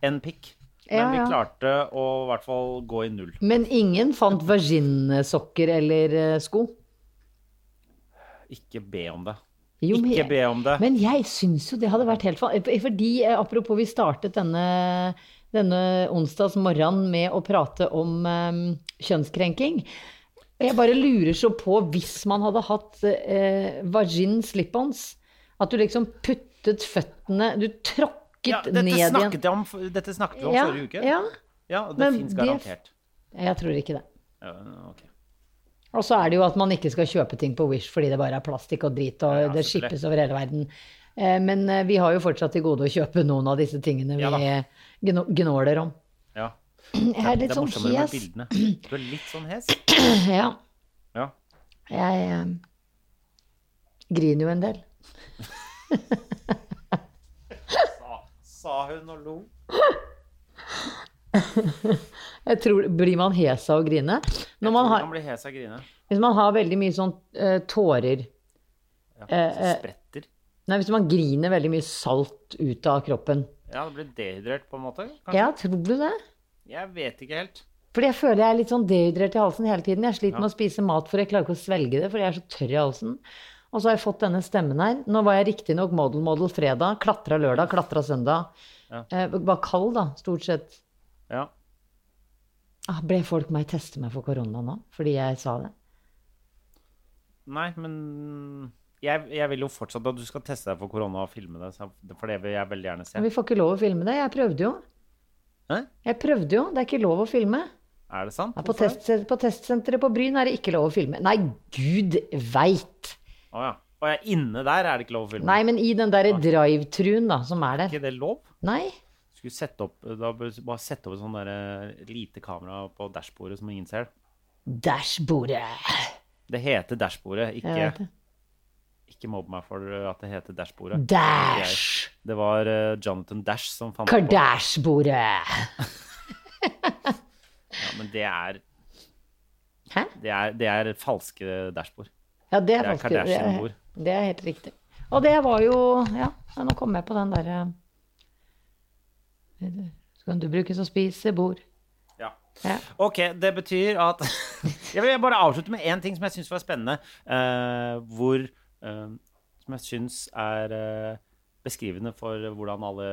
Speaker 1: enn pikk. Men
Speaker 2: Ja,
Speaker 1: vi
Speaker 2: ja.
Speaker 1: klarte å i hvert fall gå i null.
Speaker 2: Men ingen fant vaginsokker eller eh, sko?
Speaker 1: Ikke be om det.
Speaker 2: Jo, men-
Speaker 1: Ikke be om det.
Speaker 2: Men jeg syns jo det hadde vært helt fa- Fordi, eh, apropos, vi startet denne, denne onsdags morgenen med å prate om eh, kjønnskrenking. Jeg bare lurer så på, hvis man hadde hatt eh, vagin slip-ons, at du liksom puttet føttene Du tråkket
Speaker 1: Ja,
Speaker 2: ned
Speaker 1: dette,
Speaker 2: igjen.
Speaker 1: snakket jeg om, f- dette snakket vi om
Speaker 2: ja,
Speaker 1: forrige uke.
Speaker 2: Ja,
Speaker 1: Ja, og det
Speaker 2: Men
Speaker 1: fins
Speaker 2: det-
Speaker 1: garantert.
Speaker 2: jeg tror ikke det.
Speaker 1: Ja, ok.
Speaker 2: Og så er det jo at man ikke skal kjøpe ting på Wish fordi det bare er plastikk og drit, og
Speaker 1: Ja, ja,
Speaker 2: det
Speaker 1: selvfølgelig.
Speaker 2: skippes over hele verden. Eh, Men eh, vi har jo fortsatt til gode å kjøpe noen av disse tingene vi
Speaker 1: Ja da.
Speaker 2: eh, gno- gnåler om.
Speaker 1: Ja.
Speaker 2: Jeg er litt
Speaker 1: det er
Speaker 2: sånn
Speaker 1: morsommere med
Speaker 2: hes.
Speaker 1: bildene. Du er litt sånn hes.
Speaker 2: Ja,
Speaker 1: Ja.
Speaker 2: jeg eh, griner jo en del.
Speaker 1: Sa hun og lo.
Speaker 2: Jeg tror, blir man hes av å grine? Når man har,
Speaker 1: Hun blir hes av grine.
Speaker 2: hvis man har veldig mye sånn eh, tårer eh,
Speaker 1: Ja, så spretter.
Speaker 2: Nei, hvis man griner veldig mye salt ut av kroppen.
Speaker 1: Ja, det blir dehydrert på en måte. kanskje?
Speaker 2: Ja, tror du det?
Speaker 1: Jeg vet ikke helt.
Speaker 2: Fordi jeg føler jeg er litt sånn dehydrert i halsen hele tiden. Jeg sliter med å spise mat, for jeg klarer ikke å svelge det, fordi jeg er så tørr i halsen. Og så har jeg fått denne stemmen her. Nå var jeg riktignok model model fredag, klatra lørdag, klatra søndag.
Speaker 1: Ja.
Speaker 2: Eh, var kald, da, stort sett.
Speaker 1: Ja.
Speaker 2: Ah, ble folk meg teste meg for korona nå, fordi jeg sa det?
Speaker 1: Nei, men jeg, jeg vil jo fortsatt at du skal teste deg for korona og filme det, så- for det vil jeg veldig gjerne
Speaker 2: Men
Speaker 1: se.
Speaker 2: vi får ikke lov å filme det. Jeg prøvde jo.
Speaker 1: Hæ?
Speaker 2: Jeg prøvde jo. Det er ikke lov å filme.
Speaker 1: Er det sant?
Speaker 2: Ja, på,
Speaker 1: Hvorfor?
Speaker 2: test, på testsenteret på Bryn er det ikke lov å filme. Nei, gud veit!
Speaker 1: Å ja. Og jeg er inne der, er det ikke lov å filme?
Speaker 2: Nei, men i den derre drive-truen, da, som er
Speaker 1: Er
Speaker 2: der.
Speaker 1: ikke det lov?
Speaker 2: Nei?
Speaker 1: Skulle sette opp, da bør du bare sette opp et sånn der, eh, lite kamera på dashbordet som ingen ser.
Speaker 2: Dashbordet.
Speaker 1: Det heter dashbordet,
Speaker 2: Jeg vet
Speaker 1: ikke,
Speaker 2: det.
Speaker 1: ikke mobb meg for at det heter dashbordet.
Speaker 2: Dash.
Speaker 1: Det var eh, Jonathan Dash som fant det på.
Speaker 2: Kardashbordet.
Speaker 1: Ja, men det er,
Speaker 2: Hæ?
Speaker 1: det er, det er falske dashbord.
Speaker 2: Ja, det er
Speaker 1: Det er
Speaker 2: faktisk det er-
Speaker 1: Kardashian-bord.
Speaker 2: Det er helt riktig. Og det var jo Ja, ja, nå kom jeg på den eh, derre Så kan du brukes å spise bord.
Speaker 1: Ja.
Speaker 2: Ja.
Speaker 1: Ok, det betyr at Jeg vil bare avslutte med én ting som jeg syns var spennende. eh, hvor eh, Som jeg syns er eh, beskrivende for hvordan alle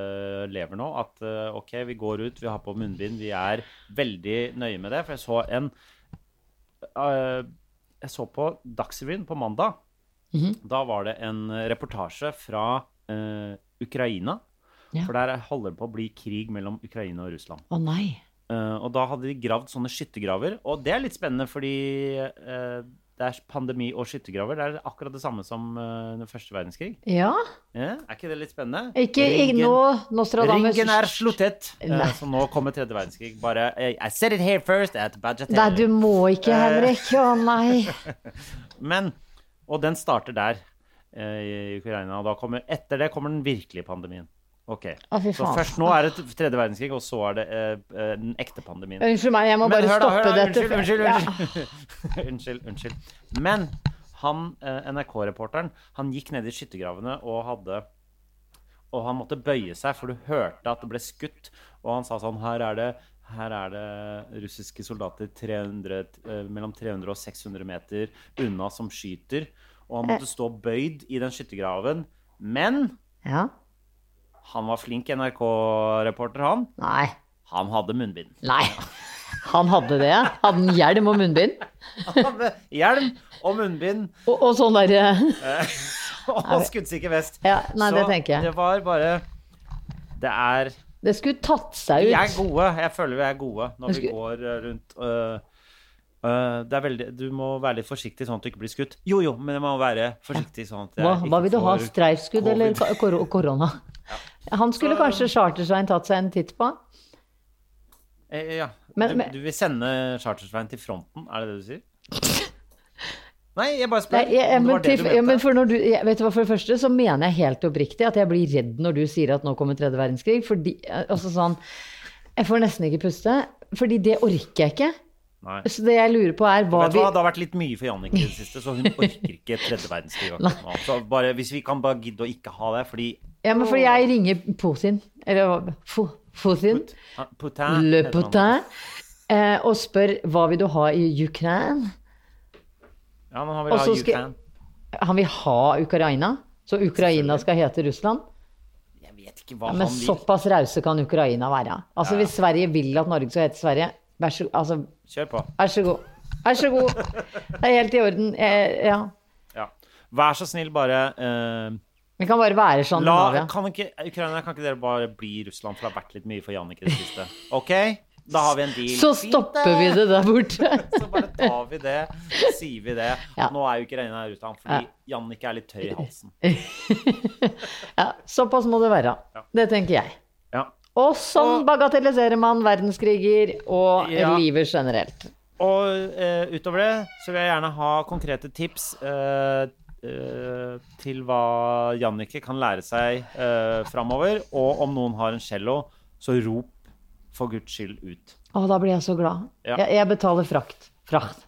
Speaker 1: lever nå. At eh, OK, vi går ut, vi har på munnbind, vi er veldig nøye med det. For jeg så en eh, Jeg så på Dagsrevyen på mandag. Da var det en reportasje fra eh, Ukraina.
Speaker 2: Ja.
Speaker 1: For der holder det på å bli krig mellom Ukraina og Russland.
Speaker 2: Å nei.
Speaker 1: Eh, og da hadde de gravd sånne skyttergraver. Og det er litt spennende, fordi eh, det er pandemi og skyttergraver. Det er akkurat det samme som eh, den første verdenskrig.
Speaker 2: Ja?
Speaker 1: Ja, er ikke det litt spennende?
Speaker 2: Ikke ikke nå Nostradamus.
Speaker 1: ringen er sluttet! Eh,
Speaker 2: Nei.
Speaker 1: så nå kommer tredje verdenskrig. Bare eh, I said it here first at budget
Speaker 2: Nei, du må ikke,
Speaker 1: Eh.
Speaker 2: Henrik. Å nei.
Speaker 1: Men Og den starter der, eh, i Ukraina. Og da kommer, etter det kommer den virkelige pandemien. Ok.
Speaker 2: Å, fy
Speaker 1: så
Speaker 2: faen.
Speaker 1: først nå er det tredje verdenskrig, og så er det eh, eh, den ekte pandemien.
Speaker 2: Unnskyld meg, jeg må bare stoppe dette.
Speaker 1: Unnskyld,
Speaker 2: for-
Speaker 1: unnskyld.
Speaker 2: Ja.
Speaker 1: Unnskyld. unnskyld, unnskyld. Men han, eh, NRK-reporteren, han gikk ned i skyttergravene og hadde Og han måtte bøye seg, for du hørte at det ble skutt. Og han sa sånn Her er det, her er det russiske soldater 300, eh, mellom 300 og 600 meter unna som skyter. Og han
Speaker 2: Eh.
Speaker 1: måtte stå bøyd i den skyttergraven. Men
Speaker 2: ja.
Speaker 1: han var flink NRK-reporter, han.
Speaker 2: Nei.
Speaker 1: Han hadde munnbind.
Speaker 2: Nei. Han hadde det. Hadde han hjelm og munnbind?
Speaker 1: hadde hjelm og munnbind
Speaker 2: Og, og sånn derre
Speaker 1: og skuddsikker vest.
Speaker 2: Ja, nei,
Speaker 1: Så
Speaker 2: det tenker jeg.
Speaker 1: det var bare Det er
Speaker 2: Det skulle tatt seg
Speaker 1: Vi
Speaker 2: ut.
Speaker 1: er gode. Jeg føler vi er gode når vi
Speaker 2: Jeg skulle-
Speaker 1: går eh, rundt øh, øh, det er veldig, Du må være litt forsiktig sånn at du ikke blir skutt. Jo, jo, men jeg må være forsiktig sånn at jeg
Speaker 2: Hva,
Speaker 1: ikke
Speaker 2: hva vil du ha?
Speaker 1: får
Speaker 2: Streifskudd
Speaker 1: covid.
Speaker 2: eller ko- kor korona? Han skulle kanskje Chartersvein tatt seg en titt på.
Speaker 1: Eh, Ja.
Speaker 2: Men-
Speaker 1: du,
Speaker 2: men-
Speaker 1: du vil sende Chartersveien til fronten, er det det du sier? Nei, jeg bare
Speaker 2: Nei,
Speaker 1: spør.
Speaker 2: jeg, jeg,
Speaker 1: om det
Speaker 2: men,
Speaker 1: var det
Speaker 2: til,
Speaker 1: du
Speaker 2: ja,
Speaker 1: mente.
Speaker 2: men for når du, jeg, vet du hva, for det første så mener jeg helt oppriktig at jeg blir redd når du sier at nå kommer tredje verdenskrig. Fordi, altså sånn, jeg får nesten ikke puste, fordi det orker jeg ikke.
Speaker 1: Nei.
Speaker 2: Så det jeg lurer på er hva
Speaker 1: Vet du
Speaker 2: vi
Speaker 1: hva, Det har vært litt mye for Jannicke i det siste, så hun orker ikke tredje verdenskrig. akkurat nå. Så bare, hvis vi kan bare gidde å ikke ha det, fordi
Speaker 2: ja, men Fordi jeg ringer Putin, eller hva- Fu- Putin,
Speaker 1: han- Putin
Speaker 2: Le
Speaker 1: heter han.
Speaker 2: Putin, eh, og spør hva vil du ha i Ukraina?
Speaker 1: Ja, men han vil
Speaker 2: Og
Speaker 1: ha
Speaker 2: så skal-
Speaker 1: Ukraina.
Speaker 2: Han vil ha Ukraina, så Ukraina skal hete Russland.
Speaker 1: Jeg vet ikke hva
Speaker 2: Ja, men
Speaker 1: han vil.
Speaker 2: såpass rause kan Ukraina være. Altså, Hvis Sverige vil at Norge skal hete Sverige, vær så, altså,
Speaker 1: Kjør på.
Speaker 2: vær så god. Vær så god. Det er helt i orden. Eh, ja.
Speaker 1: Ja. Vær så snill, bare eh,
Speaker 2: Vi kan bare være sånn.
Speaker 1: la,
Speaker 2: La,
Speaker 1: kan ikke, Ukraina, kan ikke dere bare bli Russland, for det har vært litt mye for Jannicke i det siste? OK? Da har vi en deal.
Speaker 2: så
Speaker 1: Fint, eh.
Speaker 2: stopper vi det der borte.
Speaker 1: Så bare tar vi det, så sier vi det.
Speaker 2: Ja.
Speaker 1: Nå er jo Ukraina Russland, fordi Jannicke er litt tørr i halsen.
Speaker 2: Ja, såpass må det være. Det tenker jeg.
Speaker 1: Ja.
Speaker 2: Og sånn bagatelliserer man verdenskriger og
Speaker 1: Ja.
Speaker 2: livet generelt.
Speaker 1: Og eh, utover det så vil jeg gjerne ha konkrete tips eh, eh, til hva Jannicke kan lære seg eh, framover. Og om noen har en cello, så rop for guds skyld ut.
Speaker 2: Å, da blir jeg så glad.
Speaker 1: Ja.
Speaker 2: Jeg, jeg betaler frakt. Frakt.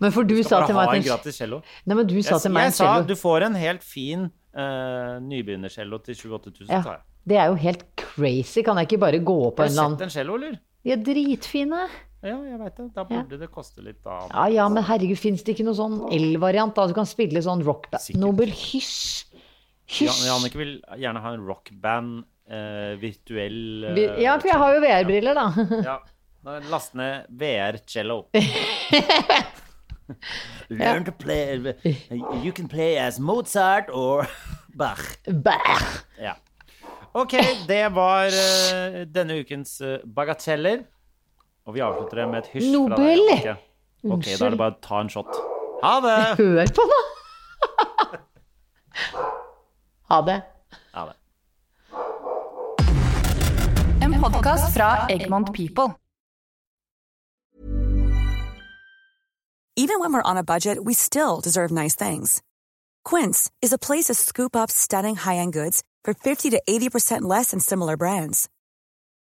Speaker 2: Men for du
Speaker 1: Eh,
Speaker 2: sa
Speaker 1: Bare
Speaker 2: til
Speaker 1: ha
Speaker 2: meg
Speaker 1: en
Speaker 2: at en,
Speaker 1: gratis cello.
Speaker 2: Nei, men du sa
Speaker 1: Jeg,
Speaker 2: til meg
Speaker 1: jeg
Speaker 2: en
Speaker 1: sa
Speaker 2: cello.
Speaker 1: du får en helt fin eh, nybegynnercello til 28 000,
Speaker 2: Ja.
Speaker 1: sa jeg.
Speaker 2: Det er jo helt crazy. Kan jeg ikke bare gå på
Speaker 1: Har
Speaker 2: en
Speaker 1: du
Speaker 2: eller annen
Speaker 1: sett en cello, eller?
Speaker 2: De er dritfine.
Speaker 1: Ja, jeg veit det. Da burde det koste litt, da.
Speaker 2: Ja ja, men herregud, fins det ikke noen sånn el-variant? da? Du kan spille sånn rockband
Speaker 1: Sikkert.
Speaker 2: Nobel, hysj!
Speaker 1: Jan,
Speaker 2: Hysj!
Speaker 1: Jannicke vil gjerne ha en rockband, eh, virtuell eh,
Speaker 2: Vi- Ja, for jeg har jo VR-briller, da.
Speaker 1: Ja. Nå Last ned VR cello. Learn to play You can play as Mozart or Bach.
Speaker 2: Bæh!
Speaker 1: Ja. OK, det var eh, denne ukens eh, bagateller. Og vi avslutter det med et hysj
Speaker 2: Nobel!
Speaker 1: fra deg. Jannicke. Ok, da er det bare å ta en shot. Ha det!
Speaker 2: Hør på meg! ha det.
Speaker 1: Ha det.
Speaker 4: En podkast fra Egmont People.
Speaker 3: Even when we're on a budget, we still deserve nice things. Quince is a place to scoop up stunning high end goods for 50 to 80% less than similar brands.